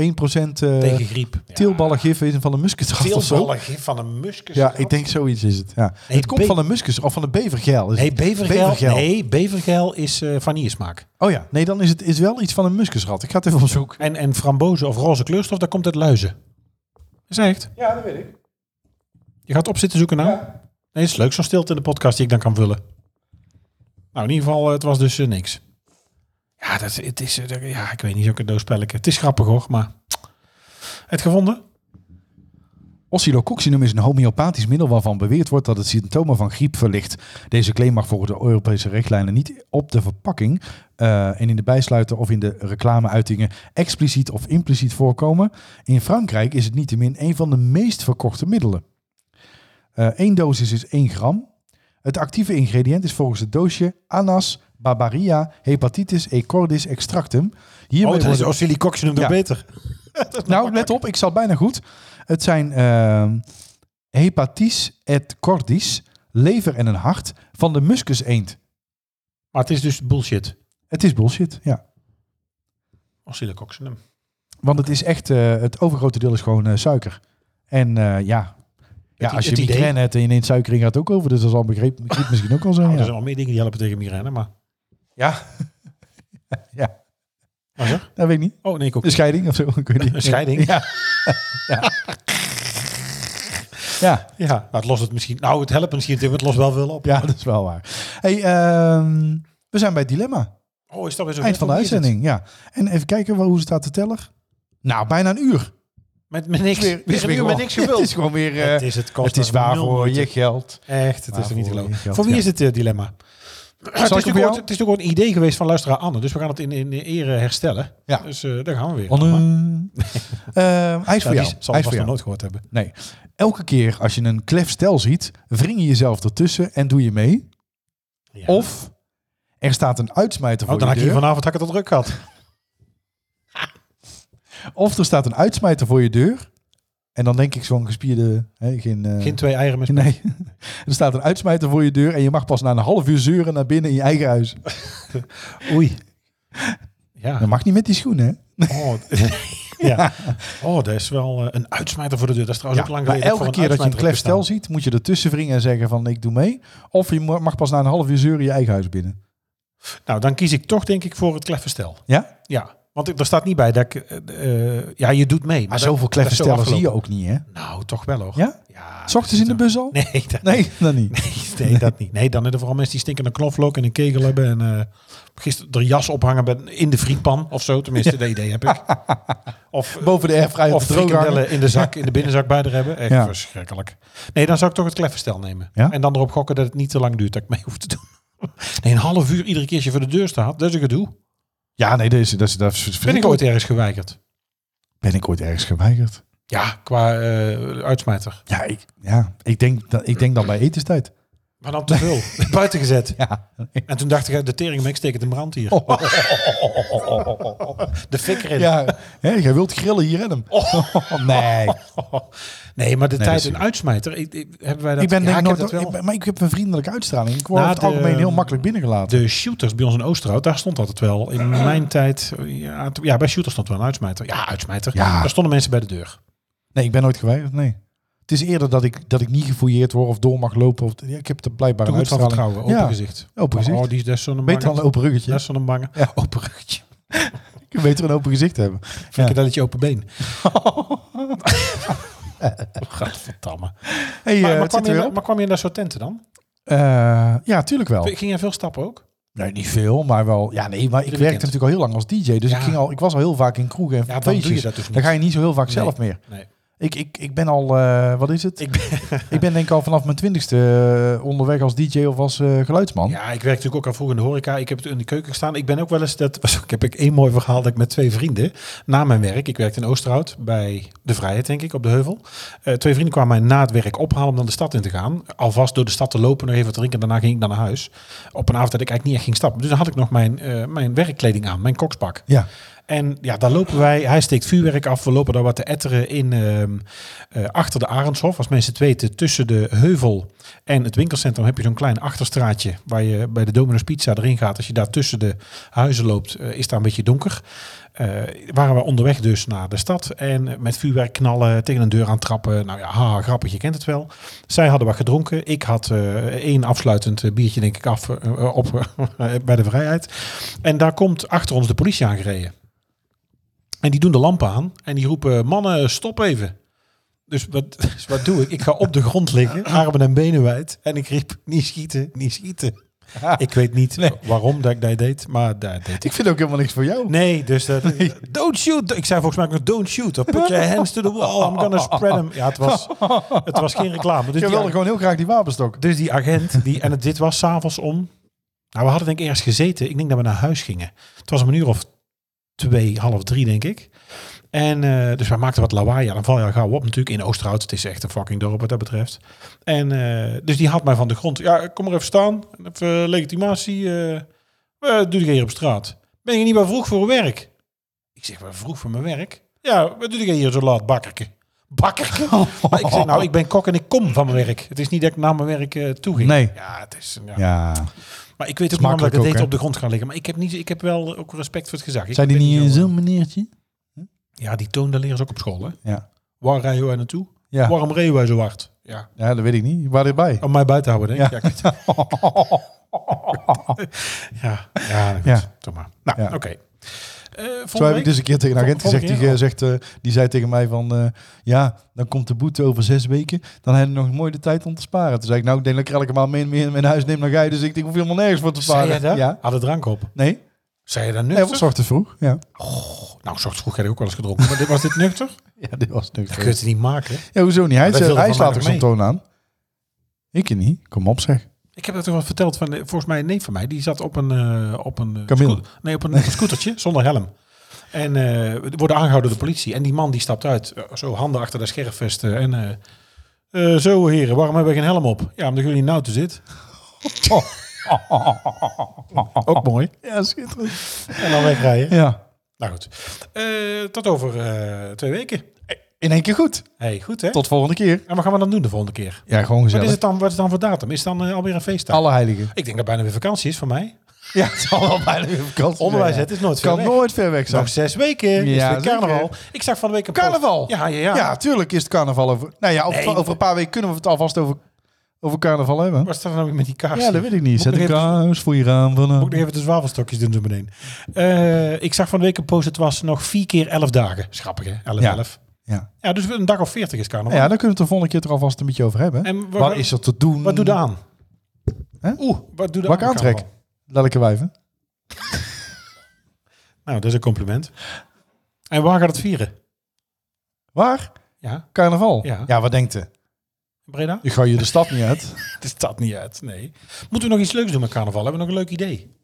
B: eh
C: Tegen griep. Ja.
B: teelballengif in van een muskusrat of zo.
C: Teelballen gif van een muskus.
B: Ja, ik denk zoiets is het. Ja.
C: Nee,
B: het komt
C: be-
B: van een muskus of van een bevergeil. Is
C: Nee,
B: het?
C: bevergel, Nee, bevergel is eh vanillesmaak.
B: Oh ja, nee, dan is het is wel iets van een muskusrat. Ik ga het even opzoeken.
C: En, en frambozen of roze kleurstof, daar komt uit luizen. Is dat echt? Ja, dat weet ik. Je gaat op zitten zoeken nou? Nee, het is leuk, zo'n stilte in de podcast die ik dan kan vullen. Nou, in ieder geval, eh, het was dus eh, niks. Ja, dat, het is, eh, dat- ja, ik weet niet, zo'n cadeauspelletje. Het is grappig hoor, maar... Het gevonden?
B: Oscillococcinum is een homeopathisch middel waarvan beweerd wordt dat het symptomen van griep verlicht. Deze claim mag volgens de Europese richtlijnen niet op de verpakking eh, en in de bijsluiter of in de reclameuitingen expliciet of impliciet voorkomen. In Frankrijk is het niettemin een van de meest verkochte middelen. Eén dosis is 1 gram. Het actieve ingrediënt is volgens het doosje Anas barbaria hepatitis E. cordis extractum. Hiermee
C: Oh, dat is
B: worden-
C: oscillococcinum nog
B: Ja.
C: beter.
B: nou, let op, ik zat bijna goed. Het zijn ehm hepatis et cordis, lever en een hart van de muskus eend.
C: Maar het is dus bullshit.
B: Het is bullshit, ja.
C: Oscillococcinum.
B: Want het is echt, eh, het overgrote deel is gewoon eh, suiker. En eh, ja, ja,
C: i-
B: als je
C: het idee-
B: migraine hebt en je neemt suiker in, gaat het ook over. Dus dat is al begrepen, begreep misschien ook al zo.
C: Nou, er
B: ja.
C: zijn wel meer dingen die helpen tegen migraine, maar...
B: ja. ja,
C: Maar zeg.
B: dat weet ik niet.
C: Oh, nee, ik ook
B: Een scheiding of zo, ik weet niet.
C: Een scheiding?
B: Ja. ja. ja.
C: Ja, nou, het lost het misschien. Nou, het helpt misschien, Tim, het lost wel veel op.
B: Ja, dat is wel waar. Hey, ehm, we zijn bij het dilemma.
C: Oh, is dat weer zo?
B: Eind van de
C: Hoe is het?
B: uitzending, ja. En even kijken waar- hoe staat de teller. Nou, bijna een uur.
C: Met, met niks. Weer,
B: is
C: weer,
B: gewoon-
C: met niks gevuld.
B: Het is gewoon weer... eh,
C: Het is het kost
B: het is
C: maar
B: waar
C: nul
B: voor
C: moeite.
B: je geld.
C: Eh, Echt, het
B: Maar
C: is er niet te
B: voor je
C: geloven.
B: geld,
C: Voor wie
B: ja.
C: is het eh, dilemma? Het
B: hem
C: is,
B: voor
C: natuurlijk
B: jou?
C: ook, het is natuurlijk ook een idee geweest van luisteraar Anne. Dus we gaan het in, in ere herstellen.
B: Ja.
C: Dus eh, daar gaan we weer.
B: Anne.
C: Maar-
B: Ehm, hij is
C: Ja,
B: voor
C: die zal
B: jou.
C: ik
B: Hij is voor
C: vast nog
B: jou.
C: nooit gehoord hebben.
B: Nee. Elke keer als je een klef stel ziet, wring je jezelf ertussen en doe je mee.
C: Ja.
B: Of er staat een uitsmijter
C: Oh,
B: voor
C: dan had
B: je
C: ik hier
B: deur.
C: vanavond had ik het al druk gehad.
B: Of er staat een uitsmijter voor je deur. En dan denk ik zo'n gespierde... Hè, geen, eh,
C: Geen twee eieren met
B: Nee. Er staat een uitsmijter voor je deur en je mag pas na een half uur zeuren naar binnen in je eigen huis.
C: Oei. Ja.
B: Dat mag niet met die schoenen, hè?
C: Oh, ja. oh, dat is wel eh, een uitsmijter voor de deur. Dat is trouwens
B: Ja,
C: ook lang
B: maar
C: geleden.
B: elke keer dat je een klefstel
C: klefstel
B: ziet, moet je ertussen wringen en zeggen van ik doe mee. Of je mo- mag pas na een half uur zeuren je eigen huis binnen.
C: Nou, dan kies ik toch denk ik voor het kleffenstel.
B: Ja?
C: Ja, want ik- er staat niet bij dat ik... eh, eh, ja, je doet mee. Maar,
B: Maar
C: dat-
B: zoveel
C: dat is zo
B: kleffenstellen zie je
C: afgelopen.
B: ook niet, hè?
C: Nou, toch wel hoor.
B: Ja?
C: ja
B: S ochtends in de bus al?
C: Nee, dat, nee.
B: Nee, dan niet.
C: nee, dat niet. Nee, dan hebben er vooral mensen die stinkende knoflook en een kegel hebben. En eh gisteren er jas ophangen bij- in de frietpan of zo. Tenminste, dat idee heb ik. Of,
B: Boven de airfryer
C: of
B: op de droger hangen.
C: frikandellen in de zak, in de binnenzak bij er hebben. Echt
B: Ja.
C: verschrikkelijk. Nee, dan zou ik toch het kleffenstel nemen.
B: Ja?
C: En dan erop gokken dat het niet te lang duurt dat ik mee hoef te doen. Nee, een half uur iedere keer als je voor de deur staat. Dat is een gedoe.
B: Ja, nee, dat is, dat is, dat is
C: Ben ik ooit ergens geweigerd?
B: ben ik ooit ergens geweigerd?
C: Ja, qua eh uitsmijter.
B: Ja, ik, ja, ik, denk, dat, ik denk dan bij etenstijd.
C: Maar dan te veel. Buiten gezet.
B: Ja.
C: En toen dacht ik, de tering, steek het in brand hier. De fik erin.
B: ja. Hé, jij wilt grillen hier in hem.
C: Oh.
B: nee.
C: Nee, maar de tijd
B: is-
C: een uitsmijter. Ik, ik- hebben wij dat?
B: ik ben
C: ja,
B: denk ik
C: heb dat
B: nooit,
C: wel.
B: ik ben- maar ik heb een vriendelijke uitstraling. Ik word
C: Nou,
B: over het
C: de-
B: algemeen heel makkelijk binnengelaten.
C: De shooters bij ons in Oosterhout, daar stond altijd wel. In mijn tijd, ja, t- ja bij shooters stond wel een uitsmijter. Ja, uitsmijter.
B: Ja.
C: Daar stonden mensen bij de deur.
B: Nee, ik ben nooit geweigerd. Nee. Het is eerder dat ik, dat ik niet gefouilleerd word of door mag lopen. Of, ja, ik heb er blijkbaar
C: Te
B: een
C: goed van
B: uitstraling.
C: vertrouwen, open
B: ja.
C: gezicht.
B: Open gezicht.
C: Oh, die is des zo'n
B: Beter dan een
C: bange.
B: open ruggetje.
C: Des zo'n bange.
B: Ja.
C: Open ruggetje.
B: Je weet er een open gezicht te hebben. Ja.
C: Frikadelletje open been. Gadverdamme. Maar,
B: Hey, eh,
C: maar, kwam
B: het zit
C: je,
B: er
C: in-
B: weer op.
C: maar kwam je in dat soort tenten dan?
B: Eh, ja, tuurlijk wel.
C: Ging jij veel stappen ook?
B: Nee, niet veel, maar wel. Ja, nee, maar ik werkte
C: weekend.
B: natuurlijk al heel lang als DJ. Dus
C: Ja.
B: ik, ging al, ik was al heel vaak in kroegen en
C: Ja, dan doe je
B: feestjes.
C: dat dus niet.
B: Dan ga je niet zo heel vaak zelf meer.
C: Nee.
B: Ik, ik, ik ben al, eh, wat is het? Ik ben, denk ik al vanaf mijn twintigste eh, onderweg als DJ of als eh, geluidsman.
C: Ja, ik werk natuurlijk ook al vroeg in de horeca. Ik heb het in de keuken gestaan. Ik ben ook wel eens dat. Ik heb ik één mooi verhaal dat ik met twee vrienden na mijn werk. Ik werkte in Oosterhout bij de Vrijheid, denk ik, op de heuvel. Eh, twee vrienden kwamen mij na het werk ophalen om dan de stad in te gaan. Alvast door de stad te lopen, nog even wat drinken. Daarna ging ik dan naar huis. Op een avond dat ik eigenlijk niet echt ging stappen. Dus dan had ik nog mijn, eh, mijn werkkleding aan, mijn kokspak.
B: Ja.
C: En ja, daar lopen wij. Hij steekt vuurwerk af. We lopen daar wat te etteren in ehm, eh, achter de Arendshof. Als mensen het weten, tussen de heuvel en het winkelcentrum heb je zo'n klein achterstraatje waar je bij de Domino's Pizza erin gaat. Als je daar tussen de huizen loopt, eh, is daar een beetje donker. Eh, waren we onderweg dus naar de stad en met vuurwerk knallen, tegen een deur aan trappen. Nou ja, haha, grappig, je kent het wel. Zij hadden wat gedronken. Ik had eh, één afsluitend eh, biertje, denk ik, af eh, op eh, bij de Vrijheid. En daar komt achter ons de politie aangereden. En die doen de lampen aan en die roepen: Mannen, stop even. Dus wat, dus wat doe ik? Ik ga op de grond liggen, armen en benen wijd. En ik riep: Niet schieten, niet schieten. Ik weet niet waarom dat ik dat deed, maar dat deed ik.
B: Ik vind ook helemaal niks voor jou.
C: Nee, dus dat, don't shoot. Ik zei volgens mij ook nog don't shoot. Of put your hands to the wall. I'm gonna spread them. Ja, het was, het was geen reclame. Dus
B: Je
C: die,
B: wilde gewoon heel graag die wapenstok.
C: dus die agent, die, en het, dit was s'avonds om. Nou, we hadden denk ik ergens gezeten. Ik denk dat we naar huis gingen. Het was om een uur of twee, half drie, denk ik. En eh, dus wij maakten wat lawaai. Ja, dan val je al gauw op natuurlijk in Oosterhout. Het is echt een fucking dorp wat dat betreft. En eh, dus die had mij van de grond. Ja, kom maar even staan. Even eh, legitimatie. eh wat doe ik hier op straat? Ben je niet wel vroeg voor uw werk? Ik zeg, wel vroeg voor mijn werk? Ja, wat doe ik hier zo laat, bakkerke? Bakkerke? maar ik zeg, nou, ik ben kok en ik kom van mijn werk. Het is niet dat ik naar mijn werk eh toe ging.
B: Nee.
C: Ja, het is... Ja.
B: Ja.
C: Maar ik weet ook
B: is
C: niet waarom dat ik
B: makkelijk
C: het
B: ook,
C: deed
B: hè?
C: op de grond gaan liggen. Maar ik heb, niet, ik heb wel ook respect voor het gezag. Ik
B: Zijn die
C: ben
B: niet
C: zo-
B: zo'n meneertje?
C: Ja, die toon, daar leren ze ook op school, hè?
B: Ja.
C: Waar rijden wij naartoe?
B: Ja.
C: Waarom reden wij zo hard? Ja.
B: ja, dat weet ik niet. Waar erbij?
C: Om mij Oh, buiten te houden, denk
B: Ja.
C: ik. Ja, ik weet het. ja. ja, goed.
B: Ja.
C: Doe maar. Nou,
B: Ja.
C: oké. Eh,
B: Zo
C: volgende
B: heb ik
C: week?
B: dus een keer tegen een agent
C: Volgende
B: gezegd. Die,
C: keer?
B: eh, zegt, eh, die zei tegen mij van... eh, ja, dan komt de boete over zes weken. Dan heb je nog mooi de tijd om te sparen. Toen zei ik, nou, ik denk dat ik elke maand meer en meer in mijn huis neem dan jij. Dus ik denk, hoef helemaal nergens voor te
C: Zei
B: sparen.
C: jij dat?
B: Ja.
C: Had de drank op.
B: Nee,
C: Zei je dat
B: nee
C: nuchter?
B: was te vroeg. Ja.
C: nou, zocht vroeg heb ik ook wel eens gedronken. Maar dit, was dit nuchter?
B: ja, dit was
C: Dat kun je
B: natuurlijk. eh,
C: het niet maken.
B: Ja, hoezo niet? Hij,
C: dat
B: zei-
C: viel er
B: hij
C: van mij
B: slaat ook
C: nog
B: zo'n toon aan. Ik niet. Kom op zeg.
C: Ik heb dat toch wel verteld van, eh, volgens mij een neef van mij, die zat op een, eh, op een eh,
B: Camille.
C: scoot- nee, op een scootertje zonder helm. En eh, we worden aangehouden door de politie. En die man die stapt uit, eh, zo handen achter de scherfvesten. En eh, eh, zo heren, waarom hebben we geen helm op? Ja, omdat jullie in de auto zitten. Oh. Ook mooi.
B: Ja, schitterend.
C: En dan wegrijden.
B: Ja.
C: Nou goed, Eh, tot over eh, twee weken.
B: In één keer goed.
C: Hey, goed hè?
B: Tot volgende keer.
C: En wat gaan we dan doen de volgende keer?
B: Ja, gewoon
C: Wat is
B: gezellig.
C: het dan, wat is het dan voor datum? Is het dan eh, alweer een feestdag?
B: Alle heiligen.
C: Ik denk dat bijna weer vakantie is voor mij.
B: Ja, het zal wel bijna weer vakantie zijn,
C: Onderwijs,
B: ja.
C: het is nooit ver
B: Kan
C: weg.
B: nooit ver weg zijn.
C: Nog zes weken is
B: Ja,
C: het weer carnaval.
B: zeker.
C: Ik zag van de week een
B: Carnaval?
C: Ja, ja, ja,
B: Ja. tuurlijk is het carnaval over. Nou ja, over,
C: Nee.
B: over een paar weken kunnen we het alvast over, over carnaval hebben.
C: Wat staat er nou weer met die kaars?
B: Ja, dat weet ik niet. Zet
C: nog
B: een
C: even-
B: kaars voor je raam
C: Moet ik nog
B: van. eh.
C: even de zwavelstokjes doen zo meteen. Eh, ik zag van de week een post, het was nog vier keer elf dagen. Schappig hè, elf,
B: Ja.
C: elf.
B: Ja.
C: Ja, dus een dag of veertig is carnaval.
B: Nou Ja, daar kunnen we het de volgende keer er alvast een beetje over hebben.
C: En wa-
B: wat,
C: wa-
B: is er te doen?
C: Wat doe je aan?
B: Hè?
C: Oeh, wat doe je
B: Wat ik aantrek? Lelijke wijven.
C: Nou, dat is een compliment. En waar gaat het vieren?
B: Waar?
C: Ja,
B: Carnaval.
C: Ja.
B: wat denkt u?
C: Breda?
B: Je gaat je de stad niet uit.
C: Het staat niet uit, nee. Moeten we nog iets leuks doen met carnaval? Hebben we nog een leuk idee?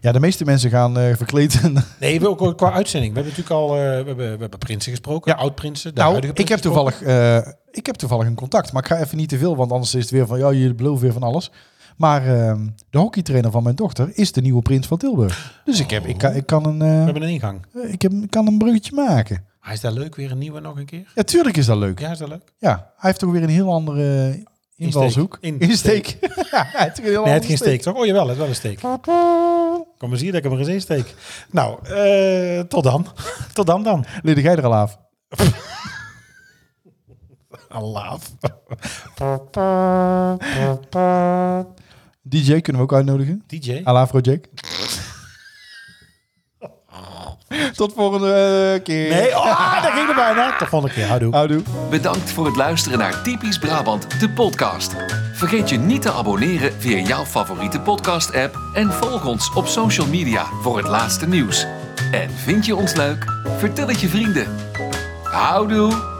B: Ja, de meeste mensen gaan eh verkleed.
C: Nee, we, ook qua uitzending. We hebben natuurlijk al eh, we hebben, we hebben prinsen gesproken,
B: Ja.
C: oud-prinsen. de
B: nou,
C: huidige
B: ik heb,
C: prinsen gesproken.
B: toevallig, eh, ik heb toevallig een contact. Maar ik ga even niet te veel, want anders is het weer van... Ja, jullie beloven weer van alles. Maar eh, de hockeytrainer van mijn dochter is de nieuwe prins van Tilburg. Dus ik, heb, ik, kan, ik, kan, een,
C: We
B: eh,
C: hebben een ingang.
B: ik, heb, ik kan een bruggetje maken.
C: Maar is dat leuk? Weer een nieuwe nog een keer?
B: Ja, tuurlijk is dat leuk.
C: Ja, is dat leuk?
B: Ja, hij heeft toch weer een heel andere eh, invalshoek.
C: Insteek. Insteek.
B: ja, hij heeft toch een heel
C: Nee, het geen
B: andere
C: steek, toch? Oh, jawel, het is wel een steek. Kom eens hier dat ik hem er eens in steek. Nou, eh, tot dan. tot dan dan.
B: Lidde jij er al af?
C: Alaaf.
B: DJ kunnen we ook uitnodigen.
C: DJ.
B: Alafro Jack. Tot volgende eh, keer.
C: Nee, oh, dat ging er bijna. Tot volgende keer. Houdoe.
B: Houdoe.
D: Bedankt voor het luisteren naar Typisch Brabant, de podcast. Vergeet je niet te abonneren via jouw favoriete podcast-app en volg ons op social media voor het laatste nieuws. En vind je ons leuk? Vertel het je vrienden. Houdoe!